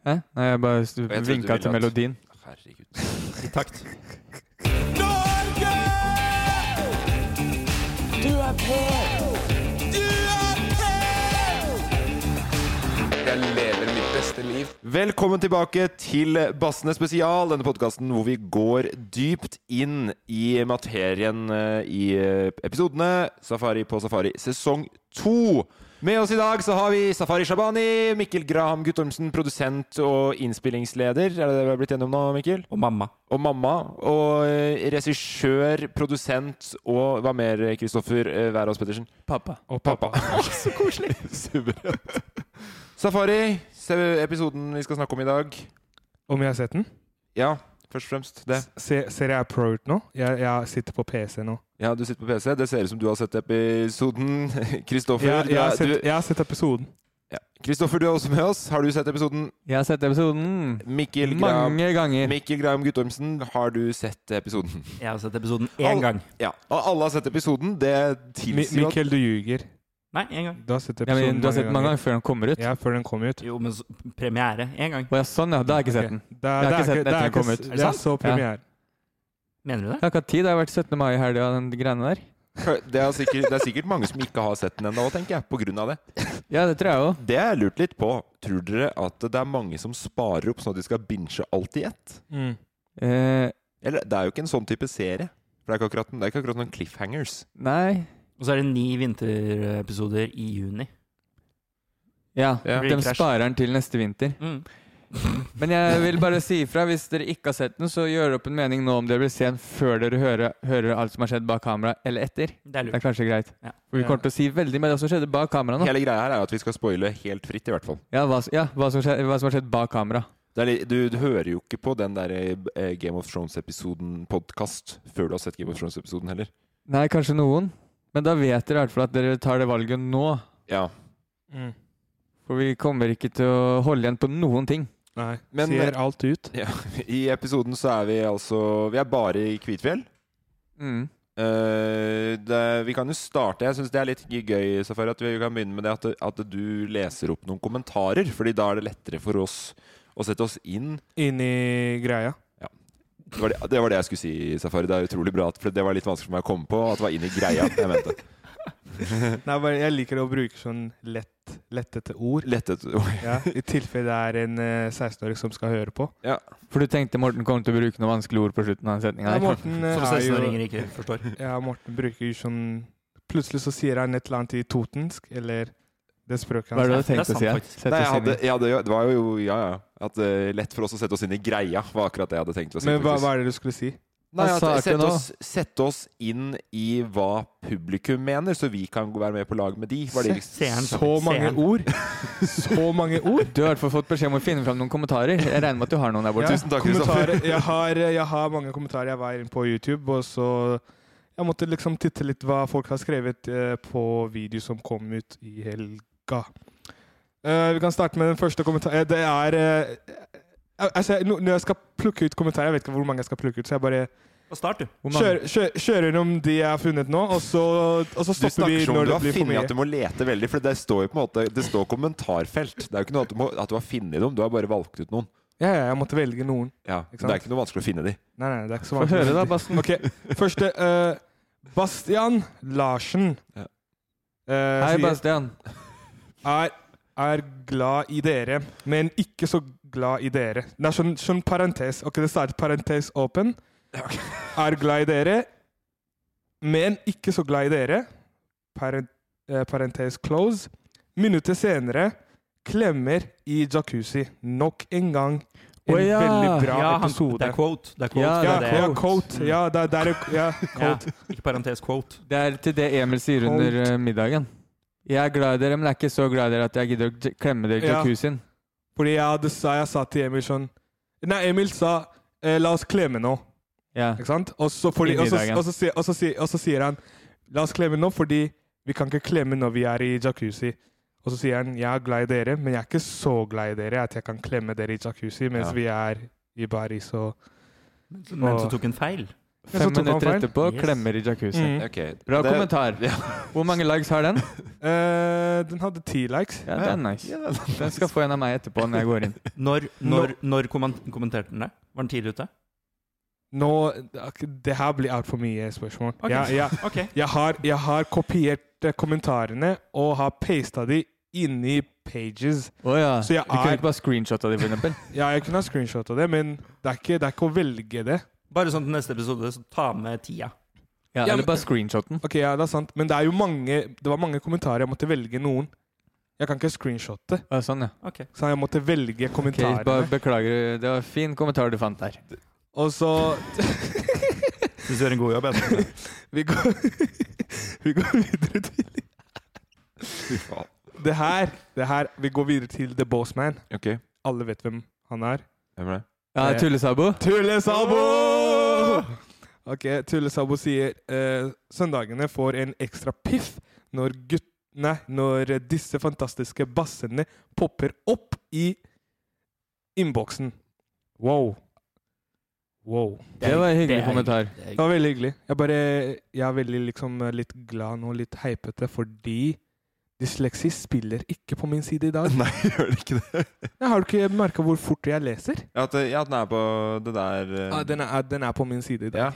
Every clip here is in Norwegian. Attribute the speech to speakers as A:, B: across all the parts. A: Hæ? Nei, jeg bare stu-
B: trodde du
A: vinka
B: ville
A: til
B: at-
A: melodien.
B: Herregud.
C: I takt.
B: Jeg lever mitt beste liv. Velkommen tilbake til Bassene spesial, denne podkasten hvor vi går dypt inn i materien eh, i eh, episodene Safari på safari sesong to. Med oss i dag så har vi Safari Shabani, Mikkel Graham Guttormsen, produsent og innspillingsleder. Er det det vi har blitt gjennom nå, Mikkel?
C: Og mamma.
B: og mamma. Og eh, regissør, produsent og hva mer, Kristoffer eh, Wærås Pettersen?
C: Pappa.
A: Og pappa.
B: Så koselig! Suverent. Safari, se episoden vi skal snakke om i dag.
A: Om jeg har sett den?
B: Ja, først og fremst det.
A: Se, ser jeg pro ut nå? Jeg, jeg sitter på PC nå.
B: Ja, du sitter på PC. Det ser ut som du har sett episoden. Kristoffer,
A: Jeg,
B: du
A: jeg, har,
B: er-
A: sett,
B: du-
A: jeg har sett episoden.
B: ja. Kristoffer, du er også med oss. Har du sett episoden?
C: Jeg har sett episoden
B: Mikkel Graham,
C: mange ganger.
B: Mikkel Graham Guttormsen, har du sett episoden?
C: Jeg har sett episoden
B: Al-
C: én gang.
B: Ja. Og alle har sett episoden. Det
A: Mi-
B: tilsier jo at
A: Mikkel, du ljuger.
D: Nei, én gang.
A: Du har sett
C: Ja,
A: episoden
C: men, du har sett den mange ganger før den kommer ut?
A: Ja, før den kom ut.
D: Jo, men så- premiere én gang.
C: Å ja, sånn ja. Da har jeg ikke sett den.
A: Ok. Det, er-
C: Jeg har
A: det
C: ikke sett den etter
A: er ikke, det er
C: den
A: ikke
C: kom ut.
A: s-
C: Er det
A: det er
C: sant?
A: så premiere.
D: Mener du
C: Jeg
D: det?
C: har ikke hatt tid. Det har vært 17. mai i helga, den greiene der.
B: Det er, sikkert, det er sikkert mange som ikke har sett den ennå, tenker jeg, på grunn av det.
C: Ja, det tror jeg òg.
B: Det har jeg lurt litt på. Tror dere at det er mange som sparer opp sånn at de skal binge alt i ett?
A: Mm.
C: Eh,
B: Eller det er jo ikke en sånn type serie. For det er ikke akkurat, det er ikke akkurat noen cliffhangers.
C: nei
D: Og så er det ni vinterepisoder i juni.
C: Ja,
B: Ja.
C: de sparer den til neste vinter.
D: Mm.
C: Men jeg vil bare si ifra. Hvis dere ikke har sett den, så gjør opp en mening nå om dere blir sent før dere hører, hører alt som har skjedd bak kamera, eller etter.
D: Det er
C: Det er
D: lurt.
C: kanskje greit.
D: Ja.
C: For vi kommer til å si veldig mye av det som skjedde bak kamera nå.
B: Hele greia her er jo at vi skal spoile helt fritt, i hvert fall.
C: Ja, hva, ja, hva, som, skje- hva som har skjedd bak kamera.
B: Det er, litt- du, du hører jo ikke på den der eh, Game of Thrones-episoden-podkast før du har sett Game of Thrones-episoden heller.
C: Nei, kanskje noen. Men da vet dere i hvert fall at dere tar det valget nå.
B: Ja.
A: Mm.
C: For vi kommer ikke til å holde igjen på noen ting.
A: Nei.
B: Men-
A: ser alt ut.
B: ja. I episoden så er vi altså Vi er bare i Kvitfjell.
C: Mm.
B: Eh, det, vi kan jo starte. Jeg syns det er litt gøy Safari, at vi kan begynne med det at, at du leser opp noen kommentarer. Fordi da er det lettere for oss å sette oss inn.
A: Inni greia.
B: Det var det, det, var det jeg skulle si, Safari. Det er utrolig bra, at- for det var litt vanskelig for meg å komme på. At det var inn i greia. Jeg mente.
A: Nei, bare, jeg liker å bruke sånn lett, lettete ord.
B: Lettet.
A: Ja, I tilfelle det er en eh, 16-åring som skal høre på.
C: For du tenkte Morten kom til å bruke noen vanskelige ord på slutten av den
A: Ja,
C: setninga?
A: Morten, eh,
D: Som
A: er jo-
D: 16-åringer ikke forstår.
A: Ja, Morten bruker jo sånn Plutselig så sier han et eller annet i totensk, eller det språket
C: Hva er
A: han
C: det du
A: snakker.
C: hadde tenkt å si? ja?
D: Det er sant, faktisk.
C: Sette
B: Nei, jeg
C: oss inn i-
B: hadde, jeg hadde, jo- det var jo ja, ja. At, eh, lett for oss å sette oss inn i greia, var akkurat det jeg hadde tenkt å si.
A: Men hva,
B: faktisk.
A: hva er det du skulle si?
B: Nei,
C: Han
B: at,
C: sa ikke
B: sette,
C: noe.
B: oss, sette oss inn i hva publikum mener, så vi kan være med på lag med de. Var det liksom-
D: Seeren.
A: Så mange
D: Seeren.
A: ord! Så mange ord!
C: Du har i hvert fall fått beskjed om å finne fram noen kommentarer. Jeg regner med at du har noen der borte.
B: Tusen takk,
A: kommentarer. Jeg har, jeg har mange kommentarer. Jeg var inne på YouTube, og så Jeg måtte liksom titte litt hva folk har skrevet eh, på video som kom ut i helga. Eh, vi kan starte med den første kommentaren. Det er eh, al- altså, jeg- nå- Når jeg skal plukke ut kommentarer, jeg vet ikke hvor mange jeg skal plukke ut, så jeg bare
D: Og start, du.
C: Hvor mange?
A: kjører, kjører, kjører gjennom de jeg har funnet nå, og så, og så
B: Du
A: stopper vi
B: snakker som om
A: når
B: du
A: det
B: har
A: blir for
B: funnet
A: mye.
B: at du må lete veldig, for det står jo på en måte Det står kommentarfelt. Det er jo ikke noe at du, må, at du har funnet dem, du har bare valgt ut noen.
A: Ja, ja, jeg måtte velge noen.
B: Ja,
A: Ikke
B: men Det
A: sant?
B: er ikke noe vanskelig å finne de.
A: Nei, nei, det er ikke så
C: Få
A: vanskelig.
C: høre, da, Basten.
A: Ok, første eh, Bastian Larsen
B: Ja.
A: eh,
C: Hei,
A: sier,
C: Bastian.
A: er, er glad i dere, men ikke så glad i dere. Det er sånn, sånn parentes. Ok, det starter parentes åpen. Er glad i dere, men ikke så glad i dere. Parent, eh, parentes close. Minutter senere klemmer i jacuzzi. Nok en gang en
C: Å ja.
A: veldig bra
D: Ja, han,
A: episode.
D: det er quote. Det er quote.
C: Ja,
A: ja,
D: det
A: ja,
D: er det.
A: quote. Ja, det, det er ja,
D: Ja,
A: quote.
D: ikke parentes quote.
C: Det er til det Emil sier under eh, middagen. Jeg er glad i dere, men jeg er ikke så glad i dere at jeg gidder å j- klemme dere i
A: Ja.
C: jacuzzien.
A: Fordi jeg, hadde, sa, jeg sa til Emil sånn Nei, Emil sa eh, 'la oss klemme nå'.
C: Ja.
A: Ikke sant? Og så, fordi,
C: I
A: og så,
C: middagen.
A: og så, sier- og så, sier- og så sier han 'la oss klemme nå', fordi vi kan ikke klemme når vi er i jacuzzi. Og så sier han 'jeg er glad i dere, men jeg er ikke så glad i dere at jeg kan klemme dere i jacuzzi mens
B: Ja.
A: vi er i Paris og
D: Men så
A: Åh.
D: tok hun feil.
A: Men så
C: Fem
A: tok han
C: minutter
A: feil.
C: etterpå
D: Yes.
C: klemmer i jacuzzien.
A: Mm.
B: Ok,
C: Bra
B: det-
C: kommentar.
B: Ja.
C: Hvor mange likes har den?
A: Eh, Den hadde ti likes.
C: Ja, den er nice.
B: Ja, det er
C: Den skal få en av meg etterpå når jeg går inn.
D: Når, når, når kommen- kommenterte den det? Var den tidlig ute?
A: Nå Det her blir altfor mye spørsmål.
D: Ok.
A: Ja, ja.
D: Ok.
A: Jeg har, jeg har kopiert eh, kommentarene og har pasta de inni pages.
C: Å ja.
A: Så jeg
C: Du kunne
A: er-
C: ikke bare screenshotta det, for eksempel?
A: Ja, jeg kunne ha screenshota det, men det er ikke, det er ikke å velge det.
D: Bare sånn til neste episode, så ta med tida.
C: Ja,
A: Ja,
C: eller
A: men-
C: bare screenshotten.
A: Ok, ja, det er sant, men det er jo mange Det var mange kommentarer. Jeg måtte velge noen. Jeg kan ikke screenshotte,
C: Ja, sånn, ja.
A: så jeg måtte velge
C: Ok,
A: kommentarene.
C: bare beklager. Det var fin kommentar du fant der.
A: Og så
D: Syns du gjør en god jobb.
A: vi går, vi går videre til
B: Fy faen.
A: det her, det her. Vi går videre til The Boss Man.
B: Ok,
A: Alle vet hvem han er.
B: hvem er det?
C: Ja,
A: Eh,
C: Tullesabo.
A: Tullesabo! Ok, Tullesabo sier eh, søndagene får en ekstra piff når gutt... Nei, når disse fantastiske bassene popper opp i innboksen. Wow. Wow.
C: Det var en hyggelig kommentar.
A: Det var veldig hyggelig. Jeg, bare, jeg er veldig liksom litt glad nå, litt heipete, fordi dysleksi spiller ikke på min side i dag.
B: Nei, gjør det ikke det?
A: Jeg har du ikke merka hvor fort jeg leser?
B: Ja, at, ja, den er på det der eh,
A: Ah, den, er, den er på min side i dag.
B: Ja.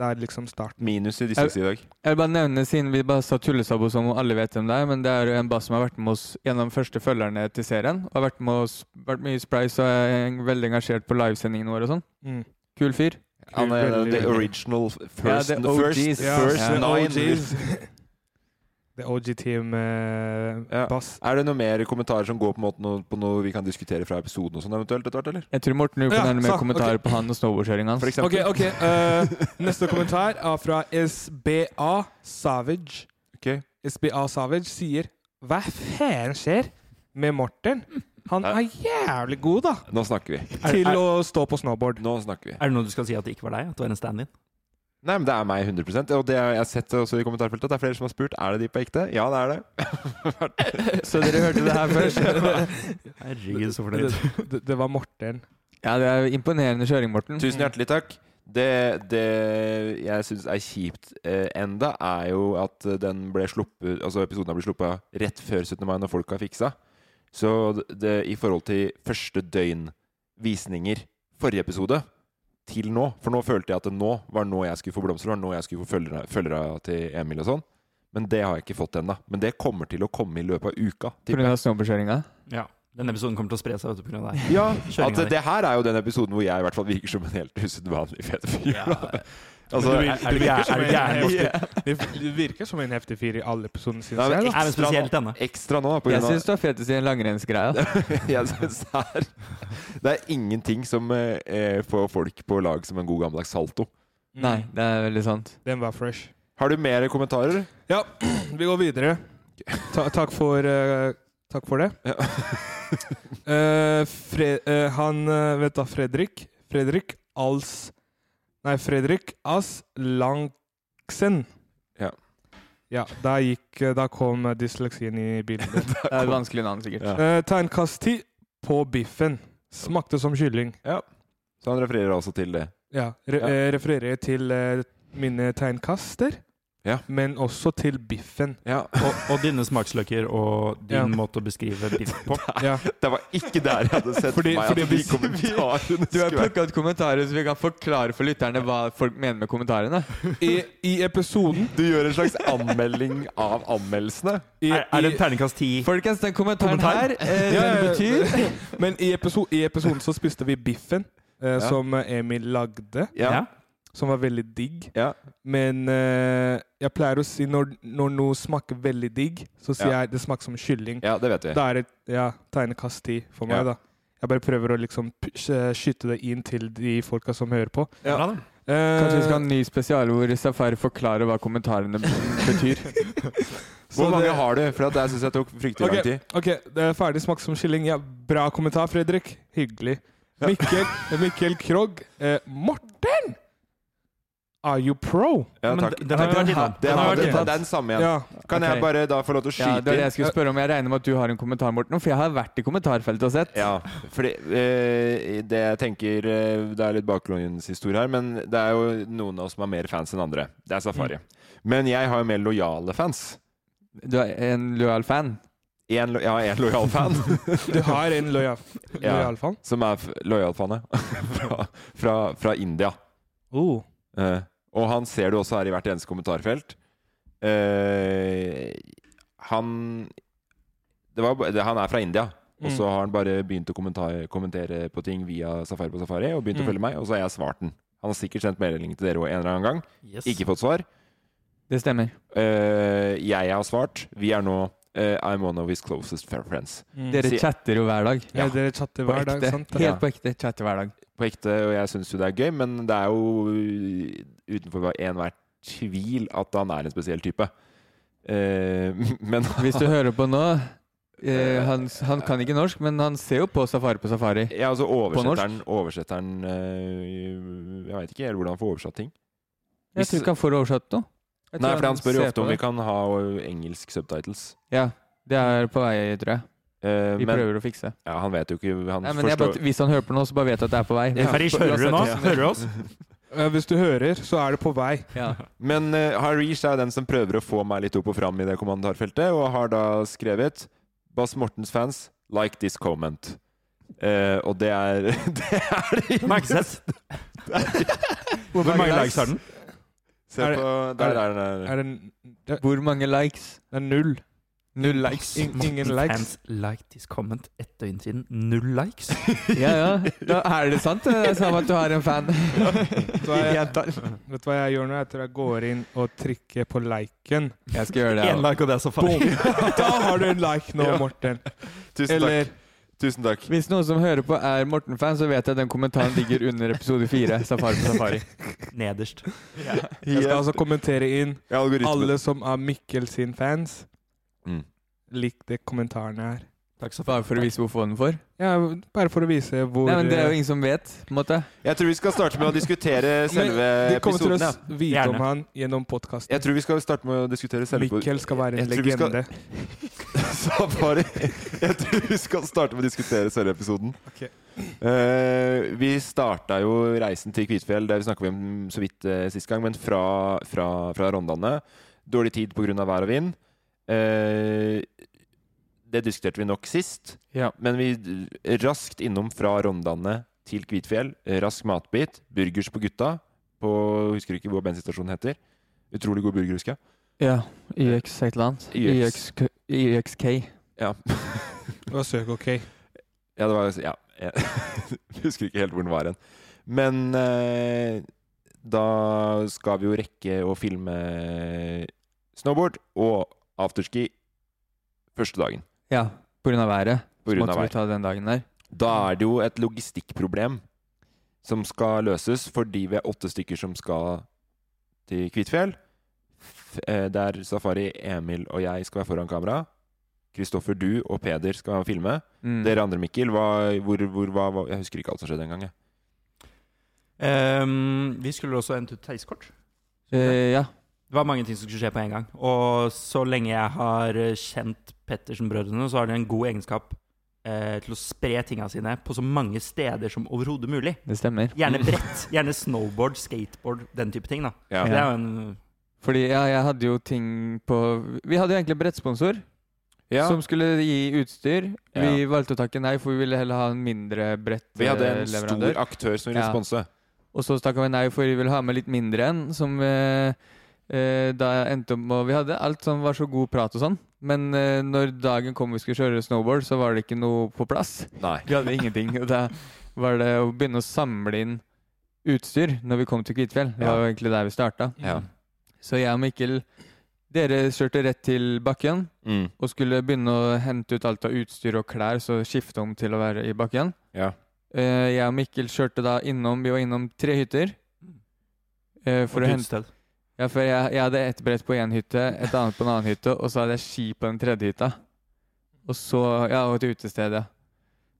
A: Det er liksom start.
B: Minus i dysleksi i dag.
C: Jeg vil bare nevne, siden vi bare sa Tullesabo som om alle vet hvem det er, men det er jo en bass som har vært med oss gjennom første følgerne til serien. Og har vært med oss, vært med i Sprice og er en- veldig engasjert på livesendingene våre og sånn.
A: Mm.
C: Kul fyr.
B: Han er
A: Veldig-
B: the original f- first,
C: Ja, the
B: first,
C: OGs.
B: first
C: Ja, ja.
B: nine.
A: The OG Team eh,
B: Ja.
A: Bass.
B: Er det noe mer kommentarer som går på, en måte noe, på noe vi kan diskutere fra episoden og sånn eventuelt etter hvert, eller?
C: Jeg tror Morten Upen
A: Ja,
C: har noen mer
A: sant,
C: kommentarer på han og snowboardkjøringa hans.
B: For
A: Ok,
B: eksempel.
A: ok. eh, neste kommentar er fra SBA Savage.
B: Ok.
A: SBA Savage sier Hva faen skjer med Morten? Han er jævlig god, da,
B: Nå snakker vi.
D: Er-
A: til
D: er-
A: å stå på snowboard.
B: Nå snakker vi.
D: Er det noe du skal si at det ikke var deg? At det var en stand-in?
B: Nei, men det er meg 100 Og det har jeg sett også i kommentarfeltet. at Det er flere som har spurt er det de på ekte. Ja, det er det.
C: Så dere hørte det her først.
D: Herregud, så
A: Det,
D: fornøyd.
A: det, det var Morten.
C: Ja, det er imponerende kjøring, Morten.
B: Tusen hjertelig takk. Det, det jeg syns er kjipt eh, enda, er jo at den ble sluppet Altså episoden har blitt sluppet rett før 17. mai, når folk har fiksa. Så det, i forhold til første døgn visninger forrige episode til nå For nå følte jeg at det nå var nå jeg skulle få blomster, var nå jeg skulle få følgere, følgere til Emil og sånn. Men det har jeg ikke fått ennå. Men det kommer til å komme i løpet av uka.
C: På grunn av snowboardkjøringa.
D: Ja. Den episoden kommer til å spre seg vet du, på grunn av deg.
B: Ja,
D: Kjøringa
B: at
D: di.
B: det her er jo den episoden hvor jeg i hvert fall virker som en helt usedvanlig fet fyr. da. altså,
D: Men du vil- er du gæren- er du gæren, Morten?
A: Det det virker som en heftig fyr i alle episodene, syns
B: Nei, men ikke-
A: jeg. da.
D: Nei, men spesielt denne.
B: Ekstra nå, da, på
C: Jeg
B: grunn
C: syns
B: av
C: du er fetest i en langrennsgreie.
B: Jeg syns det er Det er ingenting som eh, eh, får folk på lag som en god gammeldags salto.
C: Nei, det er Mm. veldig sant.
A: Den var fresh.
B: Har du mer kommentarer?
A: Ja, vi går videre. Ta, takk, for, eh, takk for det.
B: Ja.
A: Eh, Fre eh, han eh, Vet da, Fredrik Fredrik Als Nei, Fredrik As Lang Dysleksen.
B: Ja.
A: Ja, da, gikk, eh, da kom dysleksien i bildet.
C: Det er et vanskelig navn, sikkert.
B: Ja.
A: Eh, Tegnkast 10 på biffen. Smakte som kylling.
B: Så han refererer også til det.
A: Ja, re
B: Ja.
A: eh, refererer til eh, mine tegnkaster,
B: Ja.
A: men også til biffen.
B: Ja.
D: Og, og dine smaksløker og din
A: Ja.
D: måte å beskrive biff på.
A: Ja.
B: Det var ikke der jeg hadde sett
A: Fordi-
B: meg
A: fordi
B: at de
A: hvis-
B: kommentarene
C: Du har
B: skulle være
C: plukka ut kommentarer, så vi kan forklare for lytterne hva folk mener med kommentarene.
A: I, I episoden
B: Du gjør en slags anmelding av anmeldelsene.
A: i,
D: Er, er det en terningkast ti?
C: Folkens, den kommentaren
D: Kommentar?
C: her eh,
A: Ja, ja,
C: den
A: ja.
C: betyr
A: i, Men i, episo i episoden så spiste vi biffen, eh, som Emil lagde,
D: Ja.
A: som var veldig digg.
B: Ja.
A: Men eh, jeg pleier å si når, når noe smaker veldig digg, så sier
B: Ja.
A: jeg det smaker som kylling.
B: Ja, det vet vi.
A: Da er det ja, tegnekast 10 for meg,
B: Ja.
A: da. Jeg bare prøver å liksom p- sk- skyte det inn til de folka som hører på.
B: Ja.
D: Bra, da.
A: Eh,
C: Kanskje vi skal ha en ny spesial hvor Safari forklarer hva kommentarene betyr.
A: så
B: Hvor mange
A: det-
B: har du? For at jeg syns jeg tok fryktelig
A: Ok,
B: lang tid.
A: Ok, det er ferdig smak som kylling. Ja, bra kommentar, Fredrik. Hyggelig. Mikkel, Mikkel Krogh. Eh, Morten! Are you pro?
B: Ja,
D: Men
B: takk.
D: den- den har ikke vært innom.
B: Det
D: Den har
B: er,
D: vært
B: det,
D: innom.
B: det er den samme igjen.
A: Ja.
B: Kan
D: Ok.
B: jeg bare da få lov til å skyte
C: Ja, det var det jeg
B: inn?
C: skulle spørre om. Jeg regner med at du har en kommentar, Morten, for jeg har vært i kommentarfeltet og sett.
B: Ja, fordi eh, det jeg tenker eh, Det er litt bakgrunnshistorie her, men det er jo noen av oss som er mer fans enn andre. Det er Safari.
A: Mm.
B: Men jeg har jo mer lojale fans.
C: Du er en lojal fan.
B: En, lo- jeg har én lojal fan,
A: Du har en lojal
B: Ja.
A: lojal fan.
B: som er f- lojalfanet fra, fra, fra India.
A: Oh.
B: Eh, og han ser du også her i hvert eneste kommentarfelt. Eh, han det var, ba- det, Han er fra India,
A: Mm.
B: og
C: Mm.
B: så har han bare begynt å kommentar, kommentere på ting via Safari på Safari, og begynt å
A: Mm.
B: følge meg, og så har jeg svart den. Han har sikkert sendt melding til dere også en eller annen gang.
D: Yes.
B: Ikke fått svar.
C: Det stemmer.
B: Eh, jeg har svart. Vi er nå eh, I'm one of his closest fair friends.
C: Dere
B: Si-
C: chatter jo hver dag.
A: Mm. Ja, dere chatter
C: På
A: hver dag,
C: ekte.
A: sant?
C: Helt på ekte. Chatter hver dag.
B: På ekte, og jeg syns jo det er gøy, men det er jo eh, utenfor enhver tvil at han er en spesiell type. Eh, men
C: Hvis du hører på nå eh, han, han kan ikke norsk, men han ser jo på Safari på Safari.
B: Ja, altså
C: norsk?
B: oversetteren, oversetteren øh, Jeg veit ikke helt hvordan han får oversatt ting.
C: Jeg tror ikke han får oversatt noe. Jeg tror
B: Nei, for han spør jo
C: ser
B: ofte
C: på
B: om vi
C: det.
B: kan ha øh, engelsk subtitles.
C: Ja, det er på vei, tror jeg.
B: Eh,
C: Vi
B: men
C: prøver å fikse.
B: ja, han vet jo ikke Han
C: Nei, men jeg
B: forstår
C: bare, hvis han hører på nå, så bare vet at det er på vei.
D: Farish, hører du nå? Hører du oss?
A: Ja, hvis du hører, så er det på vei.
C: Ja.
B: Men øh, Harish er jo den som prøver å få meg litt opp og fram i det kommentarfeltet, og har da skrevet Bass Mortens fans like this comment. Eh, og det er Det er det
D: Den er ikke sett. Hvor
B: mange
D: mange
B: likes?
D: likes har den?
B: Se
A: Er det-
B: på Der, der, der.
A: Er det, n- det
C: Hvor mange likes?
A: det er null.
C: Null likes.
A: In, ingen likes.
D: Fans like this comment ett døgn siden. Null likes.
C: Ja, ja. Da er det sant, det sa at du har en fan.
A: Så jeg,
C: Gjentar.
A: vet du hva jeg gjør nå? Jeg tror jeg går inn og trykker på liken.
C: Jeg skal gjøre det.
D: Én
C: jeg også.
D: like, og det er så
A: Boom!
D: farlig.
A: Da har du en like nå,
B: Ja.
A: Morten.
B: Tusen
A: Eller
B: takk. Tusen takk.
C: Hvis noen som hører på er Morten-fan, så vet jeg at den kommentaren ligger under episode fire. Safari på safari.
D: Nederst.
A: Jeg skal altså kommentere inn
B: Ja, algoritmen.
A: alle som er Mikkel sin fans.
B: Mm.
A: Lik de kommentarene her.
D: Takk så
C: Bare for å vise hvor få den får.
A: Ja, bare for å vise hvor eh,
C: Nei, men Det er jo ingen som vet. på en måte.
B: Jeg tror vi skal starte med å diskutere selve
A: Men De kommer
B: episoden.
A: til å
B: Ja.
A: s- vite
D: Gjerne.
A: om han gjennom podkasten.
B: Jeg tror vi skal starte med å diskutere selve
A: Mikkel skal være en
B: Jeg tror vi skal-
A: legende.
B: Safari. Jeg tror vi skal starte med å diskutere selve episoden.
A: Ok.
B: Eh, vi starta jo reisen til Kvitfjell, det vi snakka om så vidt uh, sist gang, men fra, fra, fra Rondane. Dårlig tid pga. vær og vind. Eh, det diskuterte vi nok sist.
C: Ja.
B: Men vi d- raskt innom fra Rondane til Kvitfjell. Rask matbit. Burgers på gutta. På, husker ikke hvor bensinstasjonen heter. Utrolig god burger, husker jeg.
C: Ja. YX et eller annet.
B: YX.
C: YXK. YXK.
B: Ja,
A: Det var søk ok.
B: ja det var Ja. Jeg husker ikke helt hvor den var hen. Men eh, da skal vi jo rekke å filme eh, snowboard og afterski første dagen.
C: Ja, på grunn av været.
B: På
C: Så
B: grunn av
C: måtte vi
B: vær.
C: ta den dagen der.
B: Da er det jo et logistikkproblem som skal løses, fordi vi er åtte stykker som skal til Kvitfjell. F- eh, Der Safari, Emil og jeg skal være foran kamera. Kristoffer, du og Peder skal være med og filme.
C: Mm.
B: Dere andre, Mikkel, hva, hvor, hvor, hva, hva- jeg husker ikke alt som skjedde engang. jeg.
D: Ehm, vi skulle også hente ut heiskort.
C: Eh, ja.
D: Det var mange ting som skulle skje på en gang. Og så lenge jeg har eh, kjent Pettersen-brødrene, så har de en god egenskap eh, til å spre tinga sine på så mange steder som overhodet mulig.
C: Det stemmer.
D: Gjerne brett. Gjerne snowboard, skateboard, den type ting. da
B: Ja.
D: Det er jo en
C: Fordi ja, jeg hadde jo ting på Vi hadde jo egentlig brettsponsor
B: Ja.
C: som skulle gi utstyr. Vi
B: Ja.
C: valgte å takke nei, for vi ville heller ha en mindre
B: Vi hadde en
C: brettleverandør.
B: stor aktør som ville
C: Ja.
B: sponse.
C: Og så takka vi nei, for vi ville ha med litt mindre en, som eh, eh, da endte opp med Vi hadde alt som var så god prat og sånn, men eh, når dagen kom vi skulle kjøre snowboard, så var det ikke noe på plass.
B: Nei.
C: Vi hadde ingenting. Og da var det å begynne å samle inn utstyr når vi kom til Kvitfjell. Det var jo egentlig der vi starta.
B: Ja.
C: Så jeg og Mikkel Dere kjørte rett til bakken
B: Mm.
C: og skulle begynne å hente ut alt av utstyr og klær, så skifte om til å være i bakken.
B: Ja.
C: Eh, jeg og Mikkel kjørte da innom Vi var innom tre hytter. eh, for å
D: et
C: hente
D: utested.
C: Ja, for jeg, jeg hadde ett brett på én hytte, et annet på en annen hytte, og så hadde jeg ski på den tredje hytta. Og så Ja, og et utested, ja.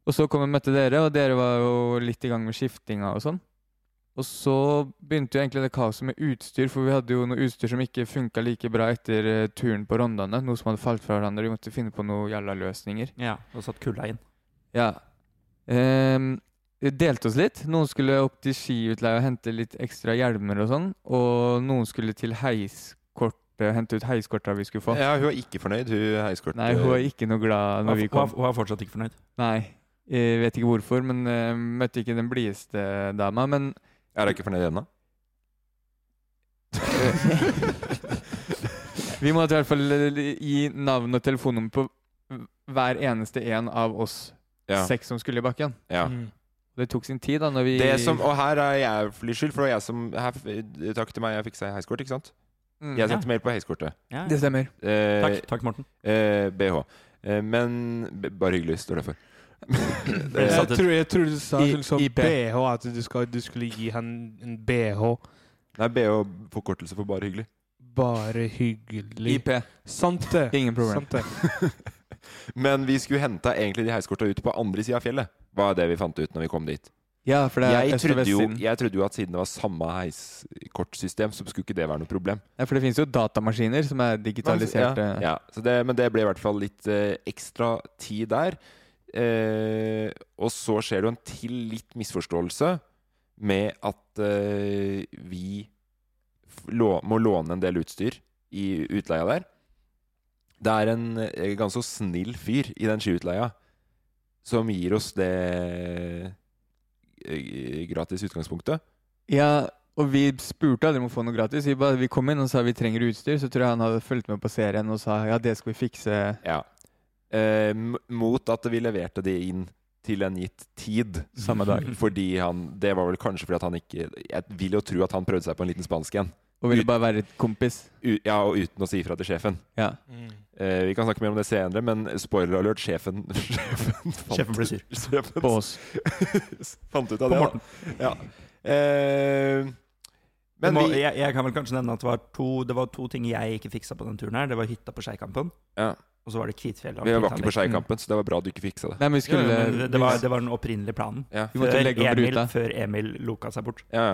C: Og så kom jeg og møtte dere, og dere var jo litt i gang med skiftinga og sånn. Og så begynte jo egentlig det kaoset med utstyr, for vi hadde jo noe utstyr som ikke funka like bra etter eh, turen på Rondane. Noe som hadde falt fra hverandre. Vi måtte finne på noen jævla løsninger.
D: Ja, og satt kulda inn.
C: Ja. Ehm, vi delte oss litt. Noen skulle opp til skiutleie og hente litt ekstra hjelmer og sånn. Og noen skulle til heiskortet, hente ut heiskorta vi skulle få.
B: Ja, hun er ikke fornøyd, hun heiskort.
C: Nei, hun var ikke noe glad
D: Hun
C: når vi
D: er-
C: kom.
D: hun er fortsatt ikke fornøyd.
C: Nei, jeg vet ikke hvorfor, men eh, møtte ikke den blideste dama. Men
B: Er hun ikke fornøyd ennå?
C: eh, vi måtte i hvert fall eh, gi navn og telefonnummer på hver eneste en av oss
B: Ja.
C: seks som skulle i bakken.
B: ja.
A: Mm.
C: Det tok sin tid, da, når vi
B: Det som, og her er jeg for litt skyld, for det var jeg som her, Takk til meg, jeg fiksa heiskort, ikke sant?
C: Mm.
B: Jeg sendte mail på heiskortet.
D: Ja,
C: Det stemmer.
B: Eh,
D: Takk, takk, Morten.
B: Eh, BH. Eh, men b Bare hyggelig, står det for. Eh,
D: Jeg
A: Jeg
D: satte-
A: tror, jeg tror du sa
C: I-
A: til sånn
C: i B.
A: BH, at du, skal, du skulle gi han en BH.
B: Nei, BH forkortelse for bare hyggelig.
A: Bare hyggelig.
C: IP.
A: Sant det.
C: Ingen problem.
A: Sant det.
B: Men vi skulle henta egentlig de heiskorta ut på andre sida av fjellet. Var det vi fant ut når vi kom dit.
C: Ja, for det er
B: Jeg
C: øst- og
B: trodde, jo,
C: vestsiden.
B: jeg trodde jo at siden det var samme heiskortsystem, så skulle ikke det være noe problem.
C: Ja, for det finnes jo datamaskiner som er eh. digitaliserte.
B: Ja, ja. Så det, men det ble i hvert fall litt eh, ekstra tid der. Eh, og så skjer det jo en til litt misforståelse med at eh, vi f- lå, må låne en del utstyr i utleia der. Det er en eh, ganske så snill fyr i den skiutleia som gir oss det eh, gratis utgangspunktet.
C: Ja, og vi spurte aldri om å få noe gratis. Vi, bare, vi kom inn og sa vi trenger utstyr. Så tror jeg han hadde fulgt med på serien og sa ja, det skal vi fikse.
B: Ja. Eh, m- mot at vi leverte de inn til en gitt tid.
C: Samme dag.
B: Fordi han Det var vel kanskje fordi at han ikke Jeg vil jo tro at han prøvde seg på en liten spansk en.
C: Og ville bare være et kompis.
B: U ja, og uten å si ifra til sjefen.
C: Ja.
A: Mm.
B: Eh, vi kan snakke mer om det senere, men spoiler alert, sjefen Sjefen, fant,
D: Sjefen ble sur.
B: sjefen
C: På oss.
B: fant ut av
D: På
B: det. da.
D: Morten.
B: Ja. Eh, men
D: Men må,
B: vi
D: jeg, jeg kan vel kanskje nevne at det var to, det var to ting jeg ikke fiksa på den turen her. Det var hytta på Skeikampen,
B: Ja.
D: og så var det Kvitfjell.
B: Vi var ikke på Skeikampen, så det var bra at du ikke fiksa det.
C: Nei, men vi
D: Jo,
C: skulle
D: jo, men det, det, var, det var den opprinnelige planen.
B: Ja.
C: Vi måtte
D: Før
C: legge opp
D: Emil,
C: ruta.
D: Før Emil loka seg bort.
B: Ja.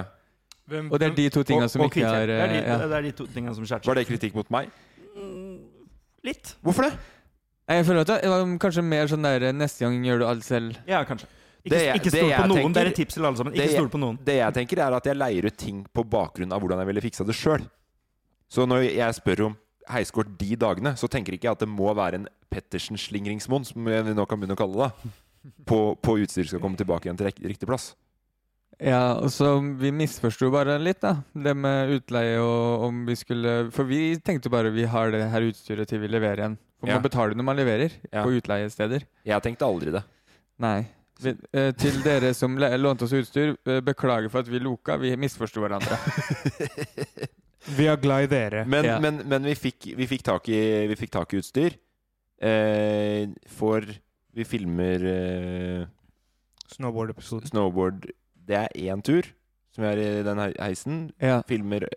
A: Hvem-
C: Og det er de to tinga
D: Og-
C: som
D: og
C: ikke
D: Kvitfjell.
C: er
D: det, er de,
C: eh, ja.
D: det er de to tinga som skjærte
B: Var det kritikk mot meg?
D: Litt.
B: Hvorfor det?
C: Nei, Jeg føler at det var kanskje mer sånn der neste gang gjør du alt selv.
D: Ja, kanskje. Ikke,
B: Det jeg-
D: ikke
B: det
D: stol
B: jeg
D: på noen.
B: tenker-
D: Det er et tips til alle sammen. Ikke
B: Det jeg-
D: stol på noen.
B: Det jeg tenker er at jeg leier ut ting på bakgrunn av hvordan jeg ville fiksa det sjøl. Så når jeg spør om heiskort de dagene, så tenker ikke jeg at det må være en Pettersen-slingringsmonn, som vi nå kan begynne å kalle det, da, på, på utstyr skal komme tilbake igjen til rek- riktig plass.
C: Ja, og så vi misforsto bare litt, da. Det med utleie og om vi skulle For vi tenkte jo bare vi har det her utstyret til vi leverer igjen. For
B: Ja.
C: man betaler når man leverer
B: Ja.
C: på utleiesteder.
B: Jeg tenkte aldri det.
C: Nei. Vi, eh, til dere som le- lånte oss utstyr, eh, beklager for at vi loka. Vi misforsto hverandre.
A: Vi er glad i dere.
B: Men,
C: Ja.
B: men, men vi, fikk, vi, fikk tak i, vi fikk tak i utstyr. Eh, for vi filmer eh,
A: Snowboard-episoden.
B: snowboard Det er én tur, som er i den hei- heisen.
C: Ja.
B: filmer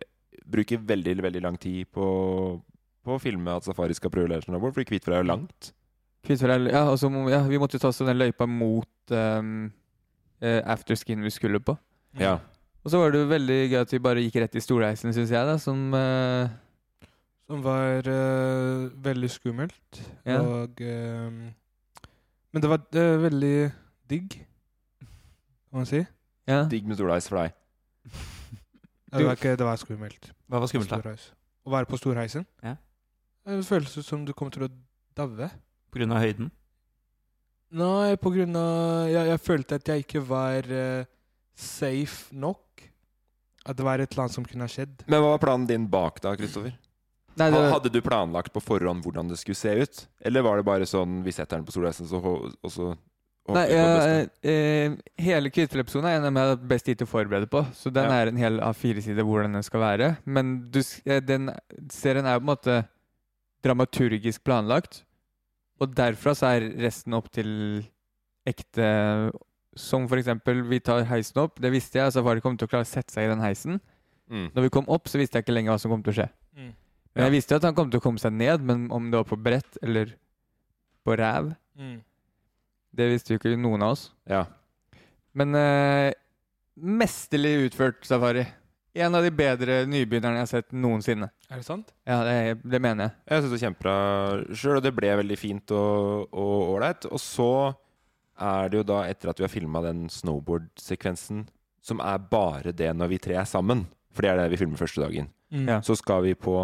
B: bruker veldig, veldig lang tid på, på å filme at Safari skal prøve å lære snowboard, fordi Kvitfjell er jo langt.
C: Kvitfjell, ja, og så må- ja, vi måtte jo ta oss den løypa mot um, eh, afterskin vi skulle på.
B: Ja.
C: Og så var det jo veldig gøy at vi bare gikk rett i stolheisen, syns jeg, da, som eh,
A: som var eh, veldig skummelt.
C: Ja.
A: Og eh, Men det var eh, veldig digg, kan man si.
C: Ja.
B: Digg med storleis for deg.
A: Det var, ikke, det var skummelt.
D: Hva var skummelt, da?
A: Storheis. Å være på storheisen.
D: Ja.
A: Det føles ut som du kommer til å daue.
D: På grunn av høyden?
A: Nei, på grunn av jeg, jeg følte at jeg ikke var eh, safe nok. At det var et eller annet som kunne ha skjedd.
B: Men hva var planen din bak da, Kristoffer?
C: Nei, det,
B: Hadde du planlagt på forhånd hvordan det skulle se ut? Eller var det bare sånn vi setter den på solreisen, så hå- og så håper
C: nei
B: vi på det
C: ja,
B: beste?
C: eh, hele Kvitfjell-episoden er en av dem jeg har best tid til å forberede på. Så den
B: Ja.
C: er en hel A4-side hvordan den skal være. Men du, s- eh, den serien er jo på en måte dramaturgisk planlagt. Og derfra så er resten opp til ekte Som for eksempel, vi tar heisen opp. Det visste jeg. Safari kom til å klare å sette seg i den heisen.
B: Mm.
C: Når vi kom opp, så visste jeg ikke lenger hva som kom til å skje. Men jeg visste jo at han kom til å komme seg ned, men om det var på brett eller på ræv,
A: Mm.
C: det visste jo ikke noen av oss.
B: Ja.
C: Men eh, mesterlig utført safari. En av de bedre nybegynnerne jeg har sett noensinne.
A: Er det sant?
C: Ja, det, det mener jeg.
B: Jeg syns det var kjempebra sjøl, og det ble veldig fint og og ålreit. Og, så er det jo da, etter at vi har filma den snowboard-sekvensen, som er bare det når vi tre er sammen, for det er det vi filmer første dagen,
C: Ja.
B: så skal vi på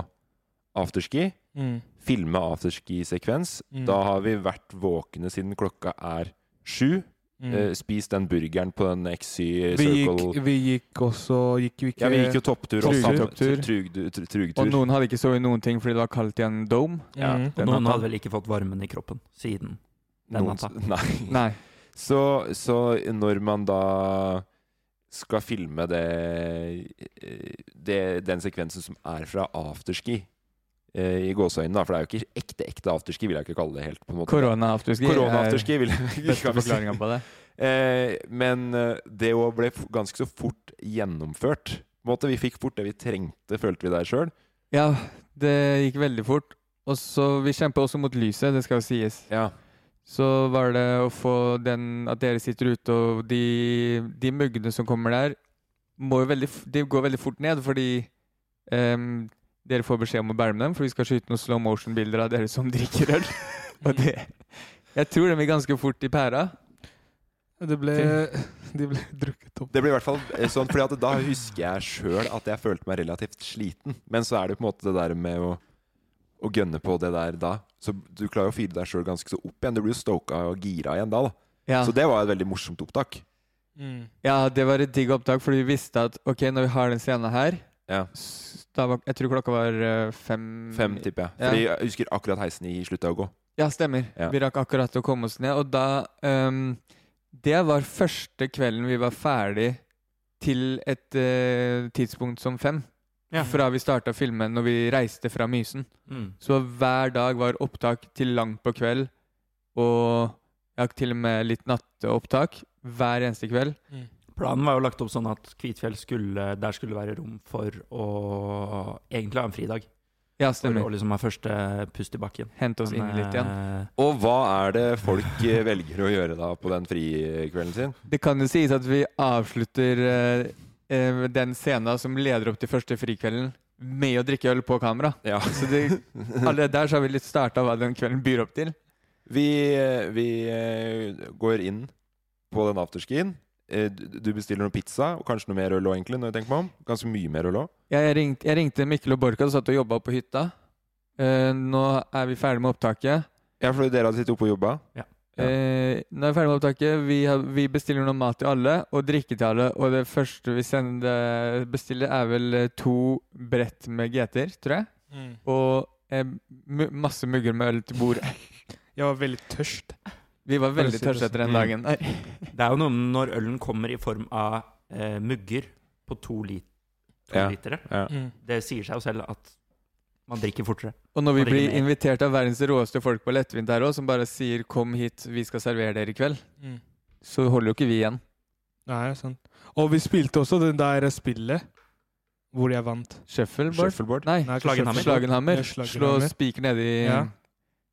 B: afterski.
A: Mm.
B: Filme afterski-sekvens.
A: Mm.
B: Da har vi vært våkne siden klokka er sju.
A: Mm.
B: Eh, spis den burgeren på den XY
A: vi,
B: Circle
A: gikk, vi gikk også Gikk vi ikke
B: Ja, vi gikk jo topptur og
C: Trugtur.
B: sammen.
C: Topptur.
B: Trugtur. tru- Trugtur.
C: Og noen hadde ikke sovet noen ting fordi det var kaldt i en dome.
B: ja.
A: Mm.
D: Og
C: Den
D: noen
C: natta.
D: hadde vel ikke fått varmen i kroppen siden. den
B: Noen-
D: natta.
B: Nei.
C: Nei.
B: Så, så når man da skal filme det, eh, det Den sekvensen som er fra afterski eh, i gåseøynene, da, for det er jo ikke ekte ekte afterski, vil jeg ikke kalle det helt. på en måte
C: Korona-afterski.
B: Korona-afterski, vil jeg
C: er Beste
B: ikke kalle
C: forklaringa
B: det.
C: på det.
B: Eh, men eh, det jo ble f- ganske så fort gjennomført. På en måte, Vi fikk fort det vi trengte, følte vi der sjøl.
C: Ja, det gikk veldig fort. Og så Vi kjemper også mot lyset, det skal jo sies.
B: Ja.
C: Så var det å få den At dere sitter ute, og de, de muggene som kommer der, må jo veldig, f- de går veldig fort ned, fordi ehm, dere får beskjed om å bære med dem, for vi skal skyte noen slow motion-bilder av dere som drikker øl. og det Jeg tror de gikk ganske fort i pæra.
A: Det ble, de ble drukket opp.
B: Det blir i hvert fall eh, sånn, fordi at da husker jeg sjøl at jeg følte meg relativt sliten. Men så er det på en måte det der med å, å gønne på det der da. Så du klarer å fyre deg sjøl ganske så opp igjen. Du blir jo stoka og gira igjen da. da.
C: Ja.
B: Så det var et veldig morsomt opptak.
A: Mm.
C: Ja, det var et digg opptak, fordi vi visste at ok, når vi har den scenen her
B: Ja.
C: s- da var, Jeg tror klokka var eh, fem
B: Fem, tipper jeg. Fordi jeg husker akkurat heisen i slutta å gå.
C: Ja, stemmer.
B: Ja.
C: Vi rakk akkurat å komme oss ned. Og da ehm, Det var første kvelden vi var ferdig til et eh, tidspunkt som fem. Fra vi starta å filme når vi reiste fra Mysen.
D: Mm.
C: Så hver dag var opptak til langt på kveld, og jeg har til og med litt natteopptak hver eneste kveld.
A: Mm.
D: Planen var jo lagt opp sånn at Kvitfjell skulle Der skulle være rom for å egentlig ha en fridag.
C: Ja,
D: For
C: stemmer.
D: å liksom ha første pust i bakken.
C: Hente oss inn
D: Men,
C: litt igjen.
D: eh,
B: Og hva er det folk eh, velger å gjøre da på den frikvelden sin?
C: Det kan jo sies at vi avslutter eh, eh, den scenen som leder opp til første frikvelden, med å drikke øl på kamera.
B: Ja.
C: Så det, allerede der så har vi litt starta hva den kvelden byr opp til.
B: Vi, vi eh, går inn på den afterskien. Eh, Du du bestiller noe pizza, og kanskje noe mer øl òg, egentlig. Når jeg tenker meg om. Ganske mye mer øl òg.
C: Jeg, ringt, jeg ringte Mikkel og Borka og satt og jobba på hytta. Eh, nå er vi ferdig med opptaket.
B: Ja, for dere hadde sittet oppe og jobba. Ja.
C: Eh, nå er vi ferdig med opptaket. Vi, har, vi bestiller noe mat til alle, og drikke til alle. Og det første vi sender, bestiller, er vel eh, to brett med GT-er, tror jeg.
A: Mm.
C: Og eh, mu- masse mugger med øl til bordet.
A: Jeg var veldig tørst.
C: Vi var
A: Bare
C: veldig
A: si det
C: tørste
A: sånn.
C: etter den
B: Mm.
C: dagen der.
D: Det er jo noe med når ølen kommer i form av eh, mugger på to, lit to
B: Ja.
D: litere.
A: Mm.
D: Det sier seg jo selv at man drikker fortere.
C: Og når vi
D: Var det ikke
C: blir
D: mer?
C: invitert av verdens råeste folk på lettvint her òg, som bare sier 'kom hit, vi skal servere dere i kveld',
A: Mm.
C: så holder jo ikke vi igjen.
A: Nei, det er sant. Og vi spilte også det der spillet hvor jeg vant.
C: Shuffleboard?
B: Shuffleboard.
C: Nei,
A: Nei, ikke
D: Slagenhammer.
A: shuffle.
C: slagenhammer.
A: Ja,
C: Slå
A: slagenhammer.
C: spiker nedi
A: Ja.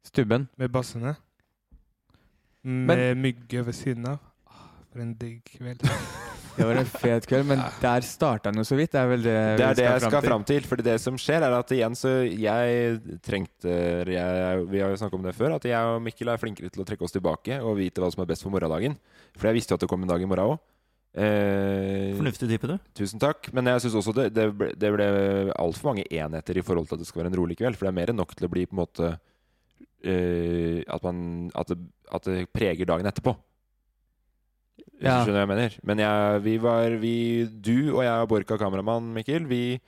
C: stubben.
A: Med bassene. Med mygge ved siden av. Ah, For en digg kveld.
C: Det var en fet kveld, men der starta han jo så vidt. Det er vel det,
B: Det er det jeg skal
C: frem
B: fram til. Fordi det som skjer, er at igjen så Jeg trengte jeg, Vi har jo snakket om det før, at jeg og Mikkel er flinkere til å trekke oss tilbake og vite hva som er best for morgendagen. For jeg visste jo at det kom en dag i morgen òg. Eh,
D: Fornuftig type, du.
B: tusen takk. Men jeg syns også det, det ble, det ble altfor mange enheter i forhold til at det skal være en rolig kveld. For det er mer enn nok til å bli på en måte eh, at, man, at, det, at det preger dagen etterpå. Hvis
C: Ja.
B: du skjønner hva jeg mener. Men jeg, vi var vi, Du og jeg og Borka kameramann, Mikkel, vi,